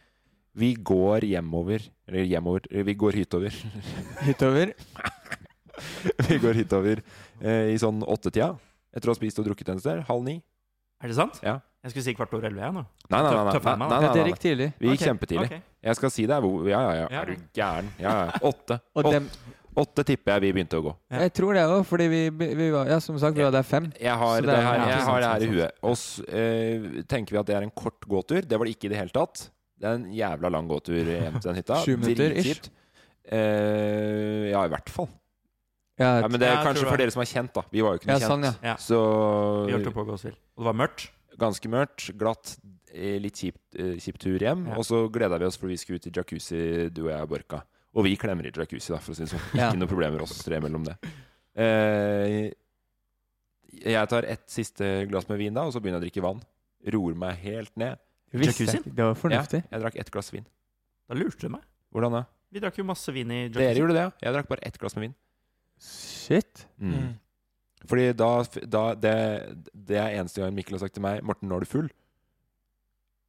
B: vi går hjemover. Eller hjemover Vi går hytover.
C: til. Hytover.
B: vi går hytover eh, i sånn åttetida. Etter å ha spist og drukket en sted. Halv ni.
D: Er det sant?
B: Ja.
D: Jeg skulle si kvart over elleve, jeg nå.
B: Nei, nei, nei. nei,
D: Tøff- tøffer
B: nei,
D: meg,
B: nei,
D: da.
B: nei,
C: Ja, det
B: nei,
C: gikk tidlig.
B: Vi
D: Ok,
B: gikk kjempetidlig.
D: ok.
B: Jeg skal si deg hvor Ja, ja, ja.
D: Ja.
B: Er du gæren? Ja, ja. Åtte.
C: Og
B: Åtte,
C: dem,
B: åtte tipper jeg vi begynte å gå.
D: Ja.
C: jeg tror det òg, fordi vi, vi var Ja, som sagt, vi var der fem.
B: Jeg har
C: Så
B: det,
C: det er-
B: her,
C: ja,
B: jeg
C: sant,
B: har det
C: sant,
B: her i
C: sant.
B: huet. Og s- eh, tenker vi at det er en kort gåtur. Det var det ikke i det hele tatt. Det er en jævla lang gåtur hjem til den hytta.
C: Sju minutter, ish.
B: Dritkjipt. Eh, ja, i hvert fall.
C: Ja,
B: Ja, men det er
D: Ja, jeg
B: kanskje
D: tror
B: for
D: det.
B: dere som er kjent, da. Vi var jo ikke
C: ja
B: noe kjent.
C: sånn, ja.
D: Ja. Vi
B: Så
D: hørte på gå oss vill. Og det var mørkt.
B: ganske mørkt, glatt, eh, litt kjip, eh, kjip tur hjem.
D: Ja.
B: Og så gleda vi oss, for vi skulle ut i jacuzzi, du og jeg og Borka. Og vi klemmer i jacuzzi, da, for å si det sånn.
C: Ja.
B: Ikke noe problemer oss tre mellom det. Eh, jeg tar ett siste glass med vin da, og så begynner jeg å drikke vann. Roer meg helt ned.
C: Visste jeg
D: Jacuzzien?
C: ikke. Det var fornuftig.
B: Ja, jeg drakk ett glass vin.
D: Da lurte du meg.
B: Hvordan da?
D: Vi drakk jo masse vin i
B: Dere
D: jacuzzien.
B: gjorde det, ja. Jeg drakk bare ett glass med vin.
C: Shit.
A: Mm.
B: Fordi da, da det, det er eneste gang Mikkel har sagt til meg 'Morten, nå er du full'.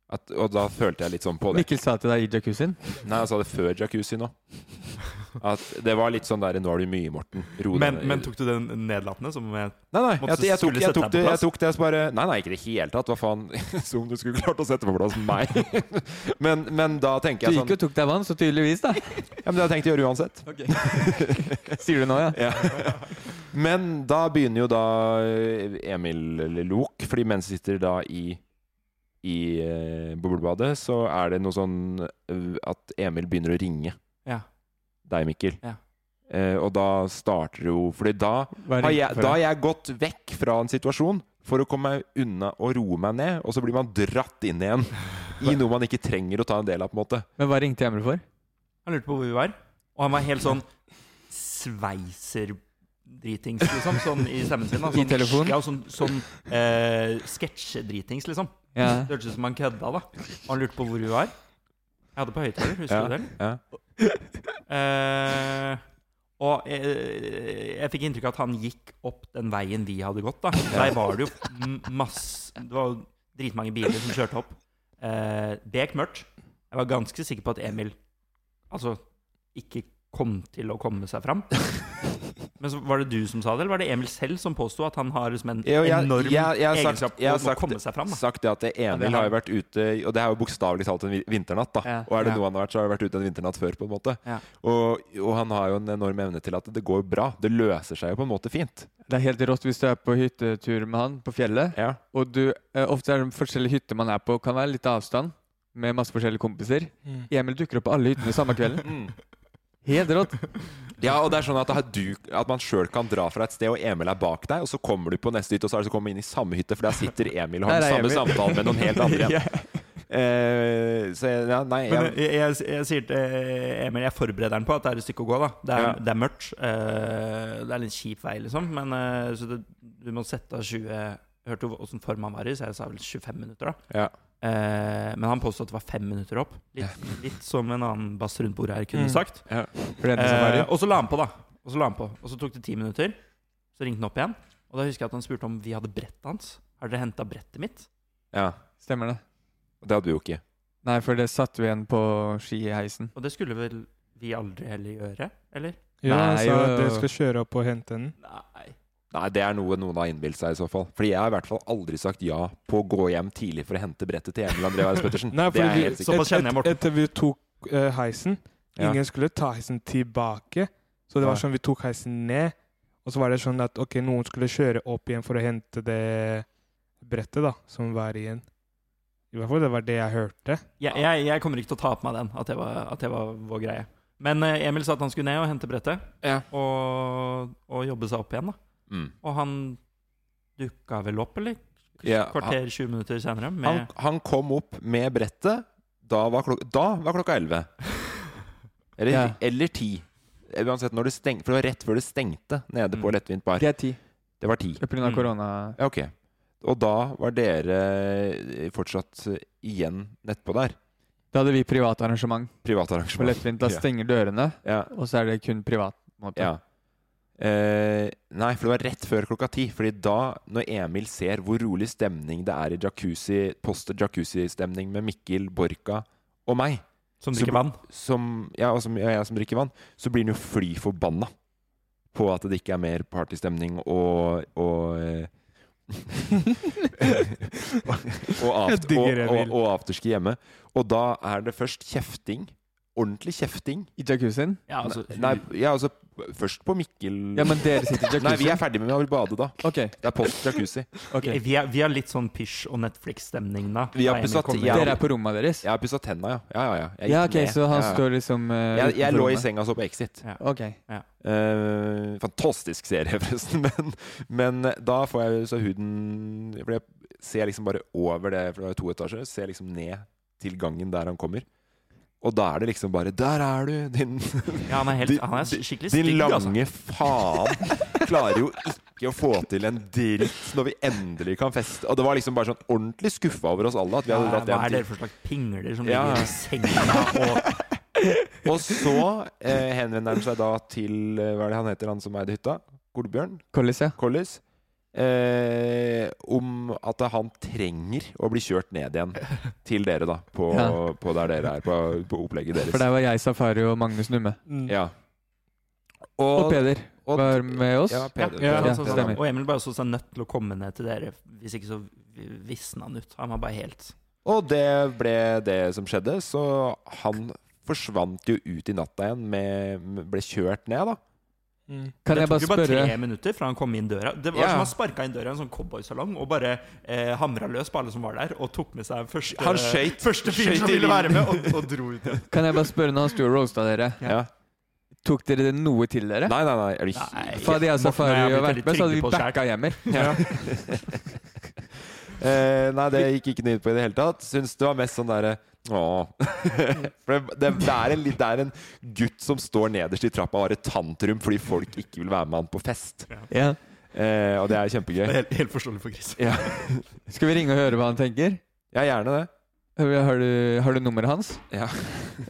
B: At, og da følte jeg litt sånn på det.
C: Mikkel sa til deg i jacuzzien.
B: Nei, han sa det før jacuzzi nå. At det var litt sånn der 'Nå er du mye, Morten'. Ro deg
D: Men,
B: ned.
D: men tok du den nedlatende? Som jeg,
B: Nei, nei.
D: Måtte
B: Jeg, jeg, tok,
D: skulle
B: jeg,
D: sette
B: tok
D: deg på
B: det, jeg
D: plass?
B: tok det så bare Nei, nei, ikke i det hele tatt. Hva faen? Som om du skulle klart å sette på plass meg. Men, men da
C: Du
B: tenker jeg
C: gikk
B: sånn
C: og tok deg vann, så tydeligvis, da.
B: Ja, men det har jeg tenkt å gjøre uansett.
C: Sier du nå, ja.
B: Ja. Men da begynner jo da eh, Emil Lok, fordi mens vi sitter da i i eh, boblebadet, så er det noe sånn eh, at Emil begynner å ringe
D: ja.
B: deg, Mikkel.
D: Ja.
B: Eh, og da starter det jo Fordi da
C: Hva
B: har
C: ringte
B: jeg,
C: for
B: da har
C: deg?
B: jeg gått vekk fra en situasjon for å komme meg unna og roe meg ned, og så blir man dratt inn igjen i noe man ikke trenger å ta en del av, på en måte.
C: Men hva ringte Emil for?
D: Han lurte på hvor vi var, og han var helt sånn sveiserdritings, liksom. Sånn i stemmen sin. da.
C: I telefonen?
D: Ja, sånn, sånn eh, sketsjedritings, liksom.
C: Ja.
D: Det hørtes ut som han kødda, da. Og han lurte på hvor vi var. Jeg hadde på høyttaler, husker
B: Ja,
D: du det? eller?
B: ja.
D: Eh, og jeg, jeg fikk inntrykk av at han gikk opp den veien vi hadde gått. da Der var det jo m- masse Det var jo dritmange biler som kjørte opp. Eh, Bek mørkt. Jeg var ganske sikker på at Emil Altså ikke kom til å komme seg fram. Men så var det du som sa det, eller var det Emil selv som påsto at han har liksom en
B: Jo, jeg-
D: enorm
B: jeg- jeg har sagt-
D: egenskap
B: jeg har
D: om å
B: sagt-
D: komme seg fram? Da.
B: sagt det at
D: det
B: Emil
D: har-
B: har jo vært ute Og det er jo bokstavelig talt en vi- vinternatt, da.
C: Ja.
B: Og er det
D: Ja.
B: noe han har vært, så har det vært ute en vinternatt før, på en måte.
D: Ja.
B: Og, og han har jo en enorm evne til at det går bra. Det løser seg jo på en måte fint.
C: Det er helt rått hvis du er på hyttetur med han på fjellet.
B: Ja.
C: Og du, eh, ofte er det forskjellige hytter man er på, kan være litt avstand. Med masse forskjellige kompiser.
A: Mm.
C: Emil dukker opp på alle hyttene samme kvelden. Helt rått.
B: Mm. Ja, og det er sånn at, det er du, at man sjøl kan dra fra et sted, og Emil er bak deg, og så kommer du på neste hytte, og så er det så kommer man inn i samme hytte, for der sitter Emil og har
C: Der er
B: den samme
C: Emil.
B: samtalen med noen helt andre igjen. Eh, så jeg- ja, nei,
D: Men
B: jeg,
D: jeg, jeg, jeg sier til eh, Emil, jeg forbereder han på at det er et stykke å gå. da Det er,
B: Ja.
D: det er mørkt. eh, det er litt kjip vei, liksom. Men eh, så det, du må sette av 20 Hørte jo åssen form han var i, så jeg sa vel 25 minutter, da.
B: ja.
D: Eh, men han påstod at det var fem minutter opp. Litt, litt som en annen bass rundt bordet her kunne
A: Mm.
D: sagt.
C: For det er det som er
D: Eh,
C: det.
D: og så la han på, da. Og så la han på Og så tok det ti minutter. Så ringte han opp igjen. Og da husker jeg at han spurte om vi hadde brettet hans. Har dere henta brettet mitt?
B: ja.
C: Stemmer det.
B: Det hadde vi jo ikke.
C: Nei, for det satte vi igjen på skiheisen.
D: Og det skulle vel vi aldri heller gjøre? Eller?
A: Ja, han
C: Nei,
A: sa
C: jo.
A: at jeg skal kjøre opp og hente den.
D: Nei.
B: Nei, det er noe noen har innbilt seg i så fall. Fordi jeg har i hvert fall aldri sagt ja på å gå hjem tidlig for å hente brettet til Emil André Wærnes Pettersen.
A: Nei,
B: det er
A: fordi
B: helt
A: vi-
B: sikkert.
D: Såpass kjenner jeg Morten.
A: Etter vi tok eh, heisen
B: Ja.
A: Ingen skulle ta heisen tilbake. Så det
B: Nei.
A: var sånn vi tok heisen ned. Og så var det sånn at ok, noen skulle kjøre opp igjen for å hente det brettet da, som var igjen. I hvert fall det var det jeg hørte.
D: Jeg, jeg, jeg kommer ikke til å ta på meg den, at det var, at det var vår greie. Men eh, Emil sa at han skulle ned og hente brettet,
B: Ja.
D: og, og jobbe seg opp igjen. da
B: Mm.
D: Og han dukka vel opp, eller?
B: Ja, han,
D: Kvarter, 20 minutter senere.
B: han,
D: Med,
B: han kom opp med brettet. Da var, klok da var klokka elleve. Eller,
C: Ja.
B: eller ti. Uansett når det stengte. For det var rett før det stengte nede på
D: Mm.
B: lettvint bar.
C: Det er ti.
B: Det var ti.
C: Pga.
D: Mm.
C: korona.
B: Ja, ok. Og da var dere fortsatt igjen nettpå der.
C: Da hadde vi privat arrangement på
B: Privatarrangement.
C: lettvint. Da
B: Ja.
C: stenger dørene,
B: Ja.
C: og så er det kun privat. på en måte.
B: ja. Eh, nei, for det var rett før klokka ti. Fordi da, når Emil ser hvor rolig stemning det er i jacuzzi, poster jacuzzi-stemning med Mikkel, Borka og meg,
D: som
B: så-
D: drikker vann.
B: som, ja, og som, ja, jeg som drikker vann, så blir han jo fly forbanna på at det ikke er mer partystemning og og, eh, og, aft,
A: Jeg
B: og,
A: digger det,
B: og,
A: Emil.
B: og afterski hjemme. Og da er det først kjefting. Ordentlig kjefting.
C: I jacuzzien?
D: Ja, altså,
B: Nei, ja, altså først på Mikkel
C: Ja, men dere sitter i jacuzzien?
B: Nei, vi er ferdig med å bade da.
C: Ok.
B: Det er post jacuzzi.
C: ok.
D: vi, vi, er, vi har litt sånn pysj- og Netflix-stemning da.
B: Vi har
D: Da Emil
B: besatt-
D: kommer.
B: ja.
C: Dere er på rommet deres?
B: Jeg har pussa tenna, ja. Ja, ja, ja. Jeg
C: Ja,
B: gikk
C: ok,
B: ned.
C: så han
B: Ja, ja.
C: står liksom eh,
B: jeg, jeg
C: utenfor
B: lå i
C: rommet.
B: senga og så på Exit.
C: Ok.
B: Eh, fantastisk serie, forresten. Men, men da får jeg så huden For jeg ser liksom bare over det, for det er jo to etasjer. Ser liksom ned til gangen der han kommer. Og da er det liksom bare Der er du, din,
D: Ja, han er, helt,
B: Din-
D: han er skikkelig
B: din
D: stygg, altså.
B: lange faen. Klarer jo ikke å få til en dritt når vi endelig kan feste. Og det var liksom bare sånn ordentlig skuffa over oss alle at vi hadde dratt
D: Hva
B: hjem
D: er
B: til
D: dere for slags pingler som
B: Ja.
D: ligger i senga og
B: Og så eh, henvender han seg da til eh, Hva er det han heter, han som eide hytta? Kolbjørn?
C: Collis, ja.
B: Collis. Eh, om at han trenger å bli kjørt ned igjen til dere, da. På,
C: Ja.
B: på der dere er, på, på opplegget
C: For
B: deres.
C: der var jeg, Safari og Magnus Numme.
A: Mm.
B: Ja.
C: Og
B: Og,
C: Peder
B: og-
C: var med oss.
B: Ja, Peder.
D: sånn,
A: Ja,
B: Peder.
C: ja,
D: sånn, sånn.
C: stemmer.
D: Og Emil bare så seg nødt til å komme ned til dere, hvis ikke så visna han ut. Han var bare helt
B: Og det ble det som skjedde, så han forsvant jo ut i natta igjen, med, med- ble kjørt ned, da.
A: Mm.
C: Kan
D: Det
C: jeg bare
D: tok jo bare
C: spørre
D: tre minutter fra han kom inn døra. Det var
B: Ja.
D: som han sparka inn døra i en sånn cowboysalong og bare eh, hamra løs på alle som var der, og tok med seg første,
B: Han skøyt-
D: første fyr
B: skøyt
D: som
B: i
D: ville være
B: vinden.
D: med, og, og dro ut igjen.
C: Kan jeg bare spørre når han sto og roasta dere,
B: Ja.
C: tok dere noe til dere?
B: Nei, nei, nei. Er du
D: Nei.
C: For hadde jeg og
D: Morten og jeg
C: Safari
D: har
C: jo
D: blitt
C: vært med,
D: veldig
C: så
D: trygge
C: hadde
D: på
C: vi
D: oss selv.
C: backa hjemmer.
B: Eh, nei, det gikk ikke noe inn på i det hele tatt. Syns det var mest sånn derre Åh. For det, det, det, er en, litt- det er en gutt som står nederst i trappa og har et tantrum fordi folk ikke vil være med han på fest.
C: Ja.
B: Eh, og det er
D: Det er
B: kjempegøy.
D: helt, helt forståelig for Chris.
B: Ja,
C: Skal vi ringe og høre hva han tenker?
B: ja gjerne det.
C: Har du, har du nummeret hans?
B: Ja.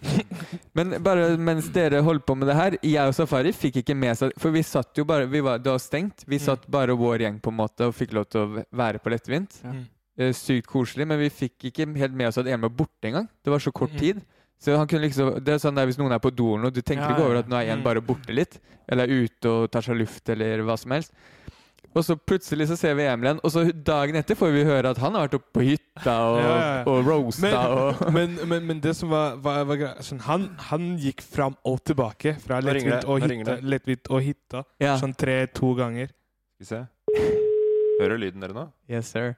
C: Men bare mens dere holdt på med det her Jeg og Safari fikk ikke med seg For vi satt jo bare vi var, Det var stengt.
D: Mm.
C: Vi satt bare vår gjeng på en måte og fikk lov til å være på lettvint.
A: Mm.
C: Eh, Sykt koselig, men vi fikk ikke helt med oss at Emil var borte engang. Det var så kort
D: Mhm.
C: tid. Så han kunne liksom Det er sånn der hvis noen er på do eller noe, du tenker
D: Ja,
C: ikke over
D: ja.
C: at nå er en
A: Mm.
C: bare borte litt, eller er ute og tar seg luft, eller hva som helst. Og så plutselig så ser vi Emil igjen, og så dagen etter får vi høre at han har vært oppe på hytta og,
A: Ja, ja, ja.
C: og roasta og
A: Men, men, men, men det som var, var, var greia sånn, han, han gikk fram og tilbake fra
B: Nå ringer det,
A: lettvint og
B: nå ringer
A: hytta,
B: det.
A: lettvint og hytta
C: Ja.
A: sånn tre-to ganger.
B: Skal vi se. Hører lyden dere nå?
C: Yes, sir.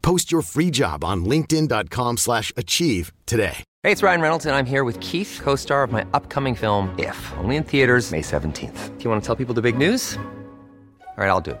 E: Post your free job on linkedin.com/achieve slash achieve today.
F: Hey, it's Ryan Reynolds, and I'm here with Keith, co star of my upcoming film, If, only in theaters, May 17th. Do you want to tell people the big news? All right, I'll do. it.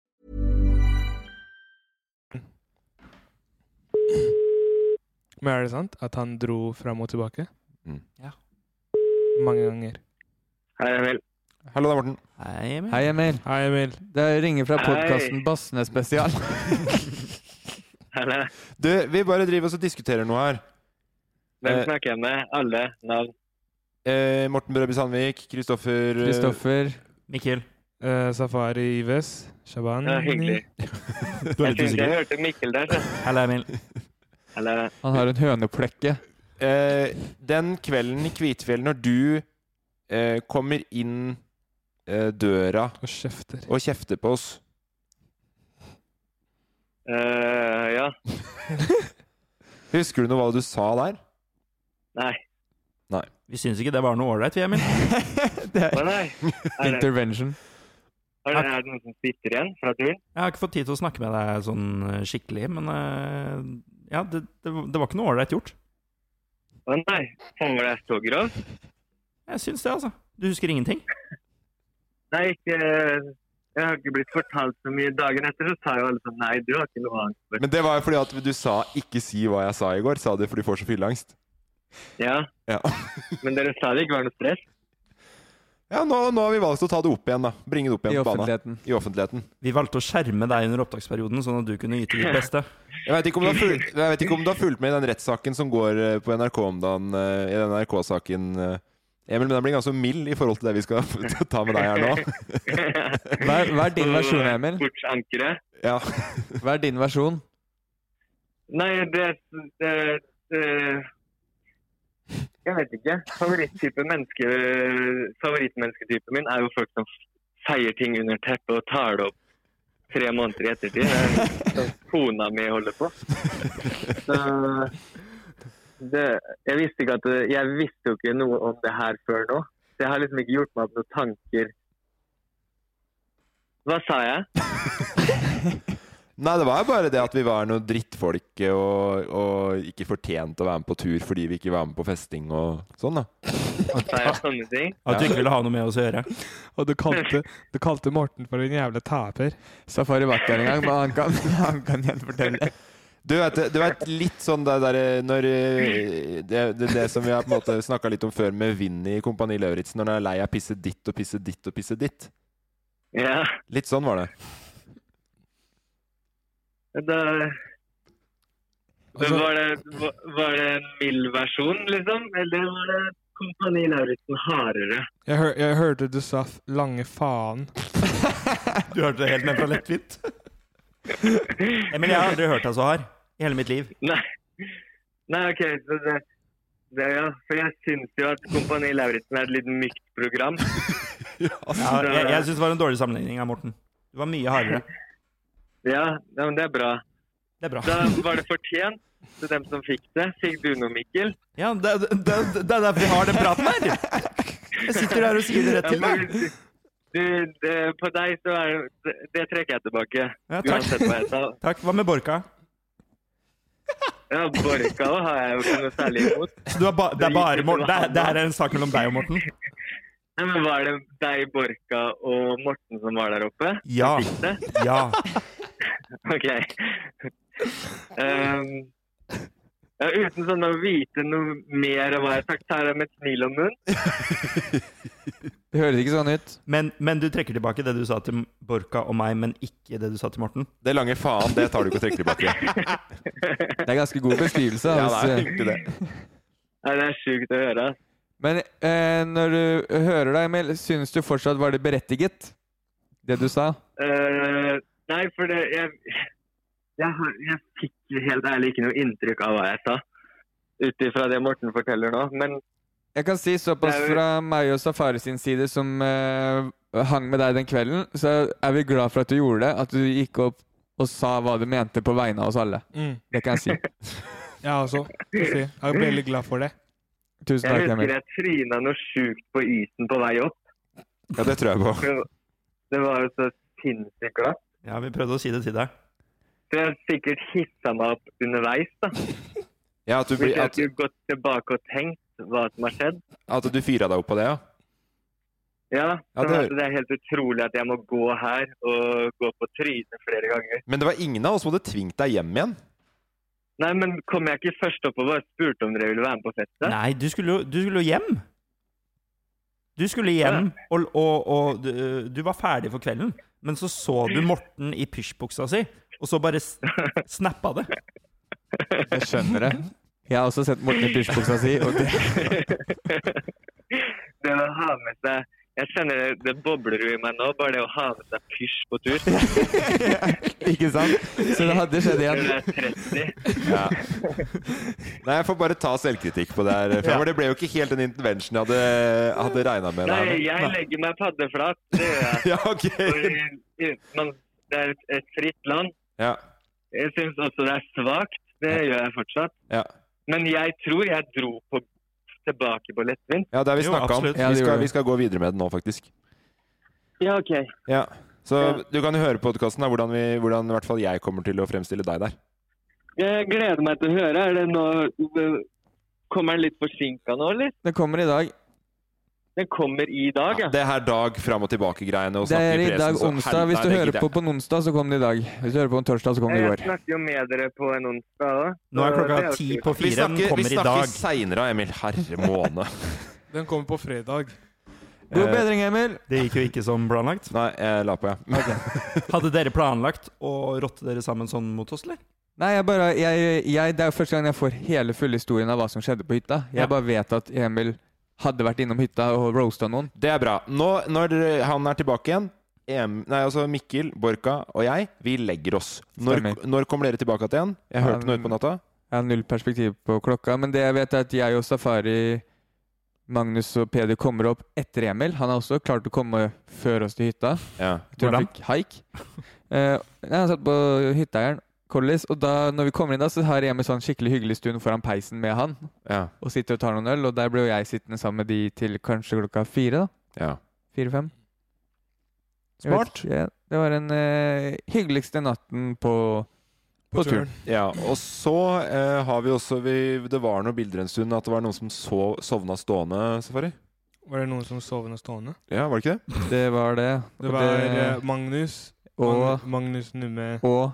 A: Men er det sant at han dro fram og tilbake?
B: Mm.
D: Ja.
A: Mange ganger.
G: Hei, Emil.
B: Hallo, det er Morten.
D: Nei, men-
C: Hei, Emil.
A: Hei, Emil.
C: Det ringer fra
G: Hei.
C: podkasten Bassene spesial.
G: Hallo.
B: Du, vi bare driver oss og diskuterer noe her.
G: Hvem
B: Eh.
G: snakker jeg med? Alle navn.
B: Eh, Morten Brøby Sandvik, Kristoffer eh,
C: Kristoffer.
D: Mikkel.
A: Eh, Safari Ives. Shaban.
G: Ja, hyggelig.
A: Du er
G: Jeg
A: litt
G: tenkte jeg
A: usikker.
G: hørte Mikkel der, så.
D: Hei, Emil.
G: Hallo.
C: Han har en høneplekke.
B: eh, Den kvelden i Kvitfjell, når du eh, kommer inn eh, døra
A: Og kjefter.
B: og kjefter på oss
G: Eh, ja.
B: Husker du noe hva du sa der?
G: Nei.
D: Vi syns ikke det var noe ålreit, vi, Emil.
G: Å nei. Er det,
C: Intervention.
G: er det, er det noen som sitter igjen fra turen?
D: Jeg har ikke fått tid til å snakke med deg sånn eh, skikkelig, men eh, ja, det, det, det var ikke noe ålreit gjort.
G: Å nei. Faen, var det så grovt?
D: Jeg syns det, altså. Du husker ingenting?
G: Nei, ikke Jeg har ikke blitt fortalt så mye. Dagen etter så sa jo alle sånn Nei, du har ikke noe angst for
B: Men det var jo fordi at du sa 'ikke si hva jeg sa i går'. Sa det fordi du får så fylleangst.
G: Ja.
B: Ja.
G: Men dere sa det ikke var noe stress?
B: ja, nå, nå har vi valgt å ta det opp igjen, da. Bringe det opp
C: I
B: igjen på bana.
C: offentligheten.
B: I offentligheten.
D: Vi valgte å skjerme deg under opptaksperioden, sånn at du kunne yte ditt beste.
B: Jeg vet ikke om du har fulgt, jeg vet ikke om du har fulgt med i den rettssaken som går eh, på NRK om dagen, eh, i den NRK-saken. eh, Emil, men den blir ganske mild i forhold til det vi skal ta med deg her nå.
C: Hva er, hva er din versjon, Emil?
G: Sportsankeret?
B: Ja.
C: Hva er din versjon?
G: Nei, det, det, det Jeg vet ikke. Favoritttype menneske, favorittmennesketypen min er jo folk som feier ting under teppet og tar det opp tre måneder i ettertid. Det er sånn kona mi holder på. Så
A: Eh.
G: det, jeg visste ikke at det, Jeg visste jo ikke noe om det her før nå. Så jeg har liksom ikke gjort meg opp noen tanker. Hva sa jeg?
B: Nei, det var jo bare det at vi var noen drittfolk og, og ikke fortjente å være med på tur fordi vi ikke var med på festing og sånn, da.
G: Sa jeg sånne ting?
D: At du ikke ville ha noe med oss å gjøre.
A: Og du kalte, du kalte Morten for en jævla taper.
C: Safari var ikke her engang, men han kan, han kan gjenfortelle.
B: Du vet, du vet litt sånn det derre når eh, det, det, det som vi har på en måte snakka litt om før med Vinni i Kompani Lauritzen, når han er lei av pisse ditt og pisse ditt og pisse ditt.
G: Ja.
B: Litt sånn var det.
G: Da
A: Altså-
G: Men var, det, var, Eh, var det en mild versjon, liksom? Eller var det Kompani Lauritzen hardere?
A: Jeg, hør, jeg hørte du sa f- 'lange faen'.
D: Du hørte det helt ned fra lettvint. Emil, jeg har aldri hørt deg så hard i hele mitt liv.
G: Nei, Nei OK. Så det, det, ja. For jeg syns jo at Kompani Lauritzen er et litt mykt program.
D: Ja, jeg jeg syns det var en dårlig sammenligning av Morten. Du var mye hardere.
G: Ja, ja, men det er bra.
D: Det er bra.
G: Da var det fortjent. Så dem som fikk det, fikk du noe, Mikkel?
D: Ja, det, det, det, det er derfor vi har den praten her! Jeg sitter her og sier det rett
G: Ja,
D: til
G: men
D: deg.
G: du, du, det, på deg så er det- det Det trekker jeg tilbake.
D: Ja, takk.
G: uansett hva jeg sa.
D: Takk. Hva med Borka?
G: Ja, Borka har jeg jo ikke noe særlig imot.
D: Så du har ba, det er bare Morten? Det, er- det her er en sak mellom deg og Morten?
G: Nei, men Var det deg, Borka og Morten som var der oppe?
D: Ja.
G: Fikk det?
D: Ja.
G: Ok. Um, ja, uten sånn å vite noe mer om hva jeg har sagt, så er det med et smil om munnen.
C: Det høres ikke sånn ut.
D: Men, men du trekker tilbake det du sa til Borka og meg, men ikke det du sa til Morten?
B: Det lange faen, det tar du ikke og trekker tilbake.
C: Det er ganske god beskrivelse. eh,
B: Ja, det er altså-
C: Hvis,
B: egentlig det.
G: Nei, det er sjukt å høre. ass.
C: men eh, når du hører deg, Emil, syns du fortsatt var det berettiget, det du sa?
G: Eh, nei, for det jeg, jeg, har- jeg fikk helt ærlig ikke noe inntrykk av hva jeg sa, ut ifra det Morten forteller nå. Men
C: Jeg kan si såpass
G: Det er jo-
C: fra meg og Safari sin side, som eh, hang med deg den kvelden, så er vi glad for at du gjorde det. At du gikk opp og sa hva du mente på vegne av oss alle.
A: Mm.
C: Det kan jeg si.
A: Jeg også. altså. skal Jeg si. Jeg er veldig glad for det.
C: Tusen
G: jeg
C: takk,
G: husker
C: Emil.
G: jeg tryna noe sjukt på isen på vei opp.
B: Ja, det tror jeg på.
G: Det var- Det var jo så sinnssykt glatt.
D: Ja, vi prøvde å si det til deg.
G: Så jeg har sikkert hissa meg opp underveis, da.
B: Ja, at du,
G: Hvis
B: blir-
G: jeg
B: at,
G: skulle gått tilbake og tenkt hva som har skjedd.
B: at du fyra deg opp på det, ja.
G: Ja,
B: Ja,
G: så
B: det-
G: altså, det er helt utrolig at jeg må gå her og gå på trynet flere ganger.
B: Men det var ingen av oss som hadde tvingt deg hjem igjen.
G: Nei, men kom jeg ikke først opp og bare spurte om dere ville være med på festet?
D: Nei, du skulle, jo- du skulle jo hjem. Du skulle hjem, og, og, og du, du var ferdig for kvelden. Men så så du Morten i pysjbuksa si, og så bare s- snappa det.
C: Jeg skjønner det. Jeg har også sett Morten i pysjbuksa si, og det
G: Det å ha med seg Jeg kjenner det, det bobler jo i meg nå, bare det å ha med seg pysj på tur.
C: Ikke sant? Så det hadde skjedd
G: Når
C: igjen.
G: du er 30.
B: Ja. Nei, jeg får bare ta selvkritikk på det her. For Det ble jo ikke helt den intervention jeg hadde, hadde regna med.
G: Nei,
B: der.
G: jeg legger meg paddeflat. Det gjør jeg.
B: Ja, ok.
G: For, eh, man, det er et, et fritt land.
B: Ja,
G: Jeg syns også det er svakt. Det gjør jeg fortsatt.
B: ja.
G: Men jeg tror jeg dro på, tilbake på lettvint.
B: ja det har vi
D: Jo,
B: snakka om.
D: absolutt.
C: Ja,
B: Vi
C: det gjorde
B: skal,
C: vi.
B: vi skal gå videre med det nå, faktisk.
G: Ja, OK.
B: Ja. Så
G: Ja.
B: du kan jo høre podkasten hvordan, vi- hvordan i hvert fall jeg kommer til å fremstille deg der.
G: Jeg gleder meg til å høre. Er det nå Kommer den litt forsinka nå, eller?
C: Det kommer i dag.
G: Den kommer i dag, ja.
B: Det her dag fram og tilbake-greiene og
C: Det
B: snakke
C: er i
B: pressen,
C: dag
B: så
C: onsdag. Hvis
B: helvete,
C: du
B: det
C: hører
B: gidder
C: på
B: jeg.
C: på en onsdag, så kom det i dag. Hvis du hører på en torsdag, så kom det Sånn i
G: Jeg
C: går.
G: snakker jo med dere på en onsdag òg.
D: Nå er klokka ti på
B: Vi
D: fire, den
B: snakker, vi
D: kommer i
B: snakker
D: dag.
B: seinere, Emil. Herre måne.
A: Den kommer på fredag.
B: Eh.
C: God bedring, Emil.
D: Det gikk jo ikke som planlagt.
B: Nei, jeg la på, jeg. Ja.
D: Hadde dere planlagt å rotte dere sammen sånn mot oss, eller?
C: Nei, jeg bare, jeg, jeg, det er jo første gang jeg får hele fulle historien av hva som skjedde på hytta. Jeg
D: Ja.
C: bare vet at Emil hadde vært innom hytta og roasta noen.
B: Det er bra. Nå, når han er tilbake igjen em, Nei, altså Mikkel, Borka og jeg, vi legger oss. Når,
C: Stemmer.
B: når kommer dere tilbake igjen? Jeg hørte noe
C: Um,
B: ut på natta.
C: Jeg har null perspektiv på klokka, men det jeg vet, er at jeg og Safari, Magnus og Peder kommer opp etter Emil. Han har også klart å komme før oss til hytta.
B: Ja.
C: Jeg tror han
D: Hvordan?
C: fikk haik. Eh, nei, han satt på hytteeieren, Collis, og da når vi kommer inn da, så har Emil sånn skikkelig hyggelig stund foran peisen med han,
B: ja,
C: og sitter og tar noen øl, og der ble jo jeg sittende sammen med de til kanskje klokka fire, da.
B: ja.
C: Fire-fem. Jeg vet
B: Smart.
C: ikke, Ja, det var den eh, hyggeligste natten på, på, turen.
B: Ja, og så eh, har vi også vi, Det var noen bilder en stund at det var noen som sov, sovna stående, Safari.
A: Var det noen som sovende stående?
B: Ja, var det ikke det?
C: Det var det.
A: Det
C: og
A: var eh,
C: det-
A: Magnus.
C: og,
A: Mag- Magnus Numme
C: og,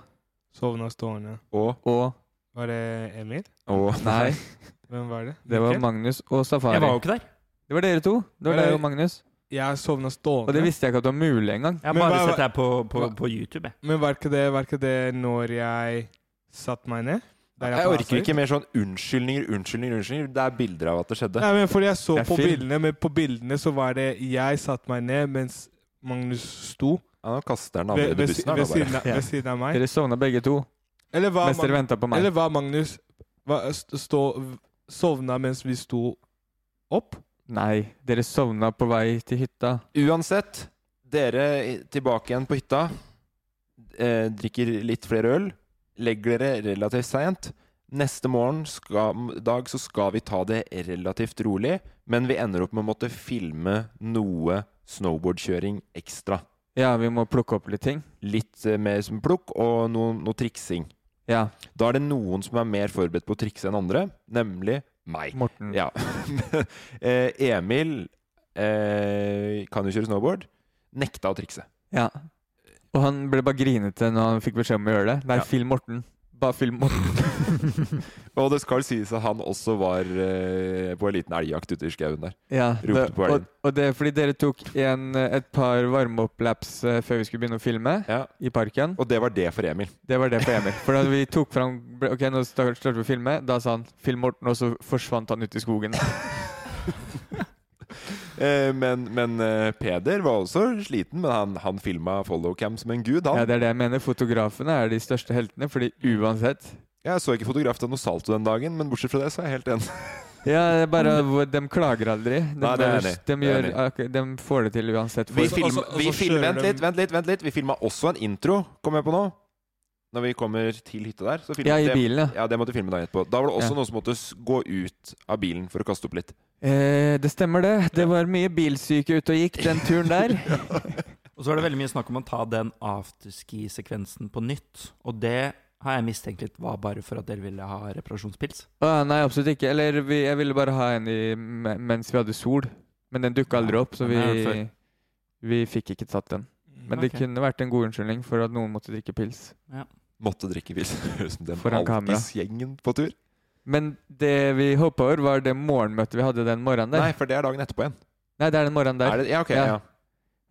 A: sovna stående.
B: Og,
C: og
A: Var det Emil?
B: og
C: Nei,
A: Hvem var det?
C: det var
A: Mikkel?
C: Magnus og Safari.
D: Jeg var jo ikke der.
C: Det var dere to. Det var
A: Nei.
C: deg og Magnus.
A: Jeg sovna stående.
C: Og det visste jeg ikke at det var mulig engang.
D: Jeg har
A: Men
D: bare
A: hva-
D: sett deg på, på, på YouTube. Jeg.
A: Men var ikke det, var ikke det når jeg satte meg ned? Der
B: Jeg
A: passet
B: orker
A: ut?
B: ikke mer sånn unnskyldninger, unnskyldninger, unnskyldninger. Det er bilder av at det skjedde.
A: Nei, men fordi jeg så
C: Det er
A: på
C: film.
A: bildene, men på bildene så var det jeg satte meg ned mens Magnus sto
B: Ja, nå kaster den andre
A: ved,
B: under
A: ved, si-
B: bussen her, nå bare.
A: ved, siden, av, ved siden av meg.
C: Dere sovna begge to
A: Eller var,
C: mens dere
A: Mag-
C: venta på meg.
A: eller var Magnus var, st- stå, sovna mens vi sto opp?
C: Nei, dere sovna på vei til hytta.
B: Uansett, dere i- tilbake igjen på hytta, eh, drikker litt flere øl, legger dere relativt seint. Neste morgen skal, dag så skal vi ta det relativt rolig, men vi ender opp med å måtte filme noe snowboardkjøring ekstra.
C: Ja, vi må plukke opp litt ting.
B: Litt eh, mer som plukk og noe, noe triksing.
C: Ja,
B: Da er det noen som er mer forberedt på å trikse enn andre, nemlig meg.
C: Morten.
B: Ja. Eh, Emil eh, kan jo kjøre snowboard. Nekta å trikse.
C: Ja. Og han ble bare grinete når han fikk beskjed om å gjøre det. Nei,
B: Ja.
C: film Morten. Bare film Morten.
B: Og det skal sies at han også var eh, på en liten elgjakt ute i skauen der.
C: Ja,
B: Ropte
C: det,
B: på
C: og,
B: elgen.
C: og det er fordi dere tok en, eh, et par varme-opp-laps eh, før vi skulle begynne å filme
B: Ja.
C: i parken.
B: Og det var det for Emil.
C: Det var det for Emil. For da vi tok fram ble- Ok, nå starter starter vi å filme. Da sa han 'film Morten', og så forsvant han ut i skogen.
B: Eh, Men, men eh, Peder var også sliten, men han, han filma followcam som en gud, han.
C: Ja, det er det jeg mener. Fotografene er de største heltene, fordi uansett
B: Jeg så ikke fotograf til noe salto den dagen, men bortsett fra det så er jeg helt enig.
C: Ja, det er bare hvor- De klager aldri. De,
B: Nei, det er
C: bare-
B: det.
C: de,
B: Det er
C: gjør,
B: det.
C: ak- de får det til uansett.
B: Vi
C: For-
B: film- vi
C: altså,
B: film- Vent litt,
A: dem-
B: vent litt. vent litt Vi filma også en intro, kom jeg på nå. Når vi kommer til hytta der. Så filmet
C: Ja, i
B: det-
C: bilen, ja.
B: ja. Det måtte filme dagen etterpå. Da var det også
C: Ja.
B: noen som måtte s- gå ut av bilen for å kaste opp litt.
C: eh, det stemmer, det. Det var mye bilsyke ute og gikk den turen der.
D: Og så er det veldig mye snakk om å ta den afterski-sekvensen på nytt. Og det har jeg mistenkt litt var bare for at dere ville ha reparasjonspils.
C: Å, nei, absolutt ikke. Eller vi, jeg ville bare ha en i, me- mens vi hadde sol. Men den dukka aldri opp, så
D: den er jo
C: vi, vi fikk ikke tatt den. Men det
D: Ok.
C: kunne vært en god unnskyldning for at noen måtte drikke pils.
B: Måtte drikke pils. Høres ut som den
C: Foran kamera.
B: alkisgjengen på tur.
C: Men det vi hoppa over, var det morgenmøtet vi hadde den morgenen der.
B: Nei, for det er dagen etterpå igjen.
C: Nei, det er den morgenen der.
B: Er det, ja, ok,
C: Ja.
B: ja.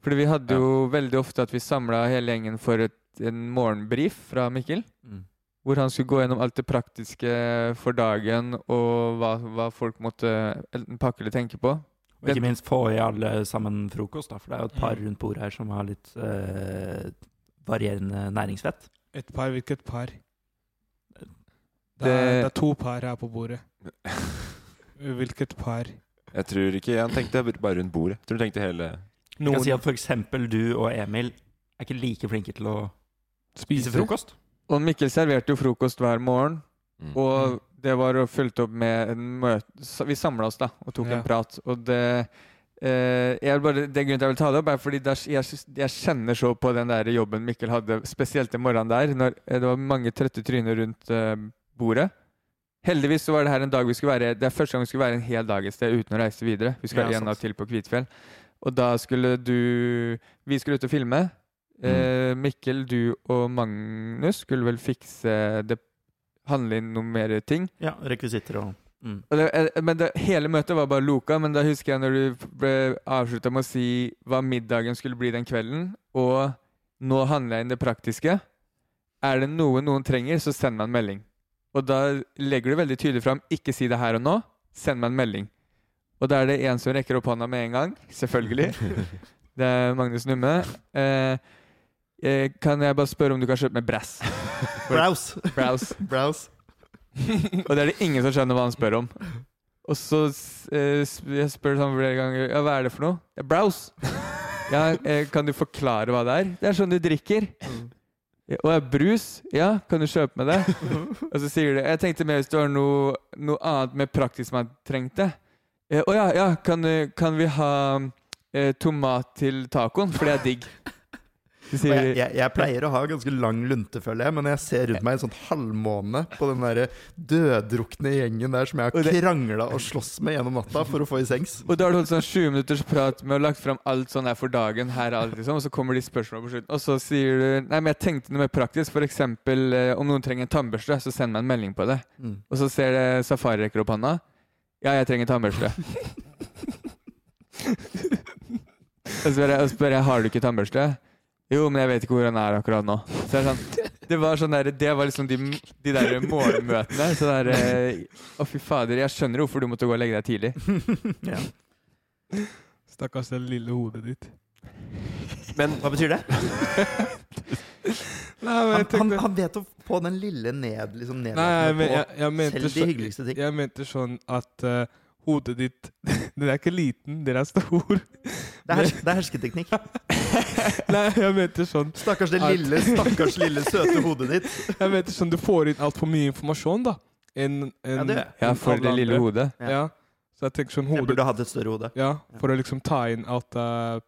C: Fordi vi hadde jo veldig ofte at vi samla hele gjengen for et, en morgenbrif fra Mikkel.
D: Mm.
C: Hvor han skulle gå gjennom alt det praktiske for dagen, og hva, hva folk måtte enten pakke eller tenke på.
D: Og ikke
C: Den-
D: minst få i alle sammen frokost, da, for det er jo et
A: Mm.
D: par rundt bordet her som har litt eh, varierende næringsvett.
A: Et par, hvilket par? Det er, det
C: Det-
A: er to par her på bordet. Hvilket par?
B: Jeg tror ikke Han tenkte bare rundt bordet. Jeg tror han tenkte hele
D: Jeg kan si
A: Noen
D: at f.eks. du og Emil er ikke like flinke til å spise
A: spiser
D: frokost.
C: Og Mikkel serverte jo frokost hver morgen,
B: Mm.
C: og det var jo fulgt opp med en møte så Vi samla oss da, og tok
A: Ja.
C: en prat, og det eh, jeg vil bare, det grunnen til jeg vil ta det opp, er fordi det er- jeg, jeg kjenner så på den der jobben Mikkel hadde, spesielt den morgenen der, når eh, det var mange trøtte tryner rundt eh, bordet. Heldigvis så var det her en dag vi skulle være Det er første gang vi skulle være en hel dag et sted uten å reise videre. Vi skulle
D: Ja,
C: ha en
D: sant.
C: dag til på Kvitfjell. Og da skulle du Vi skulle ut og filme.
D: Mm.
C: Eh, Mikkel, du og Magnus skulle vel fikse det Handle inn noen mer ting.
D: Ja, rekvisitter og mm.
C: Og det, eh, men det, hele møtet var bare loka, men da husker jeg når du ble avslutta med å si hva middagen skulle bli den kvelden, og nå handler jeg inn det praktiske. Er det noe noen trenger, så send meg en melding. Og da legger du veldig tydelig fram ikke si det her og nå, send meg en melding. Og da er det en som rekker opp hånda med en gang, selvfølgelig. Det er Magnus Numme. Eh, eh, kan jeg bare spørre om du kan kjøpe med brass?
D: Browse!
C: Browse.
D: Browse.
C: Og det er det ingen som skjønner hva han spør om. Og så eh, sp- jeg spør jeg flere ganger Ja, hva er det for noe. Det er browse. Ja, eh, kan du forklare hva det er? Det er sånn du drikker. Ja, og det er brus. Ja, kan du kjøpe med det? Og så sier de Jeg tenkte mer hvis det var noe, noe annet mer praktisk man trengte. Eh, Å ja, ja, kan, eh, kan vi ha eh, tomat til tacoen? For det er digg. Så sier de
H: pleier å ha ganske lang luntefølge, men jeg ser rundt meg en sånn halvmåne på den der døddrukne gjengen der som jeg
C: Og
H: har
C: det-
H: krangla og slåss med gjennom natta for å få i sengs.
C: Og da har du holdt sånn 20 minutters prat med og lagt fram alt sånn her for dagen. Her er alt liksom Og så kommer de spørsmålene på slutten. Og så sier du Nei, men jeg tenkte noe mer praktisk. For eksempel eh, om noen trenger en tannbørste, så send meg en melding på det.
H: Mm.
C: Og så ser det Safari rekker opp handa. Ja, jeg trenger tannbørste. og så spør jeg, og så spør jeg har du ikke tannbørste. Jo, men jeg vet ikke hvor han er akkurat nå. Så det er sånn, det var sånn der, det var liksom de, de der morgenmøtene. Så der, eh, Å, fy fader, jeg skjønner hvorfor du måtte gå og legge deg tidlig.
D: ja.
A: Stakkars det lille hodet ditt.
B: Men
D: Hva betyr det?
A: Nei, men
H: Han,
A: jeg
H: han,
A: tenkte
H: han vet å få den lille ned, liksom
A: Nei,
H: nedlatende
A: men jeg,
H: på
A: jeg, mente
H: selv de
A: så-
H: hyggeligste ting.
A: jeg mente sånn at eh, hodet ditt Den er ikke liten, den er stor.
H: Det er, hers- det er hersketeknikk.
A: Nei, jeg mente sånn
H: Stakkars det
A: At-
H: lille, stakkars lille søte hodet ditt.
A: Jeg mente sånn du får inn altfor mye informasjon, da. En, en,
H: Ja, det gjør jeg.
C: Ja, for
A: alle
C: det lille
A: andre.
C: hodet.
H: Ja.
A: Ja. Så jeg tenker sånn
H: Jeg
A: hodet
H: burde hatt et større hode.
A: Ja, for å liksom ta inn alt eh,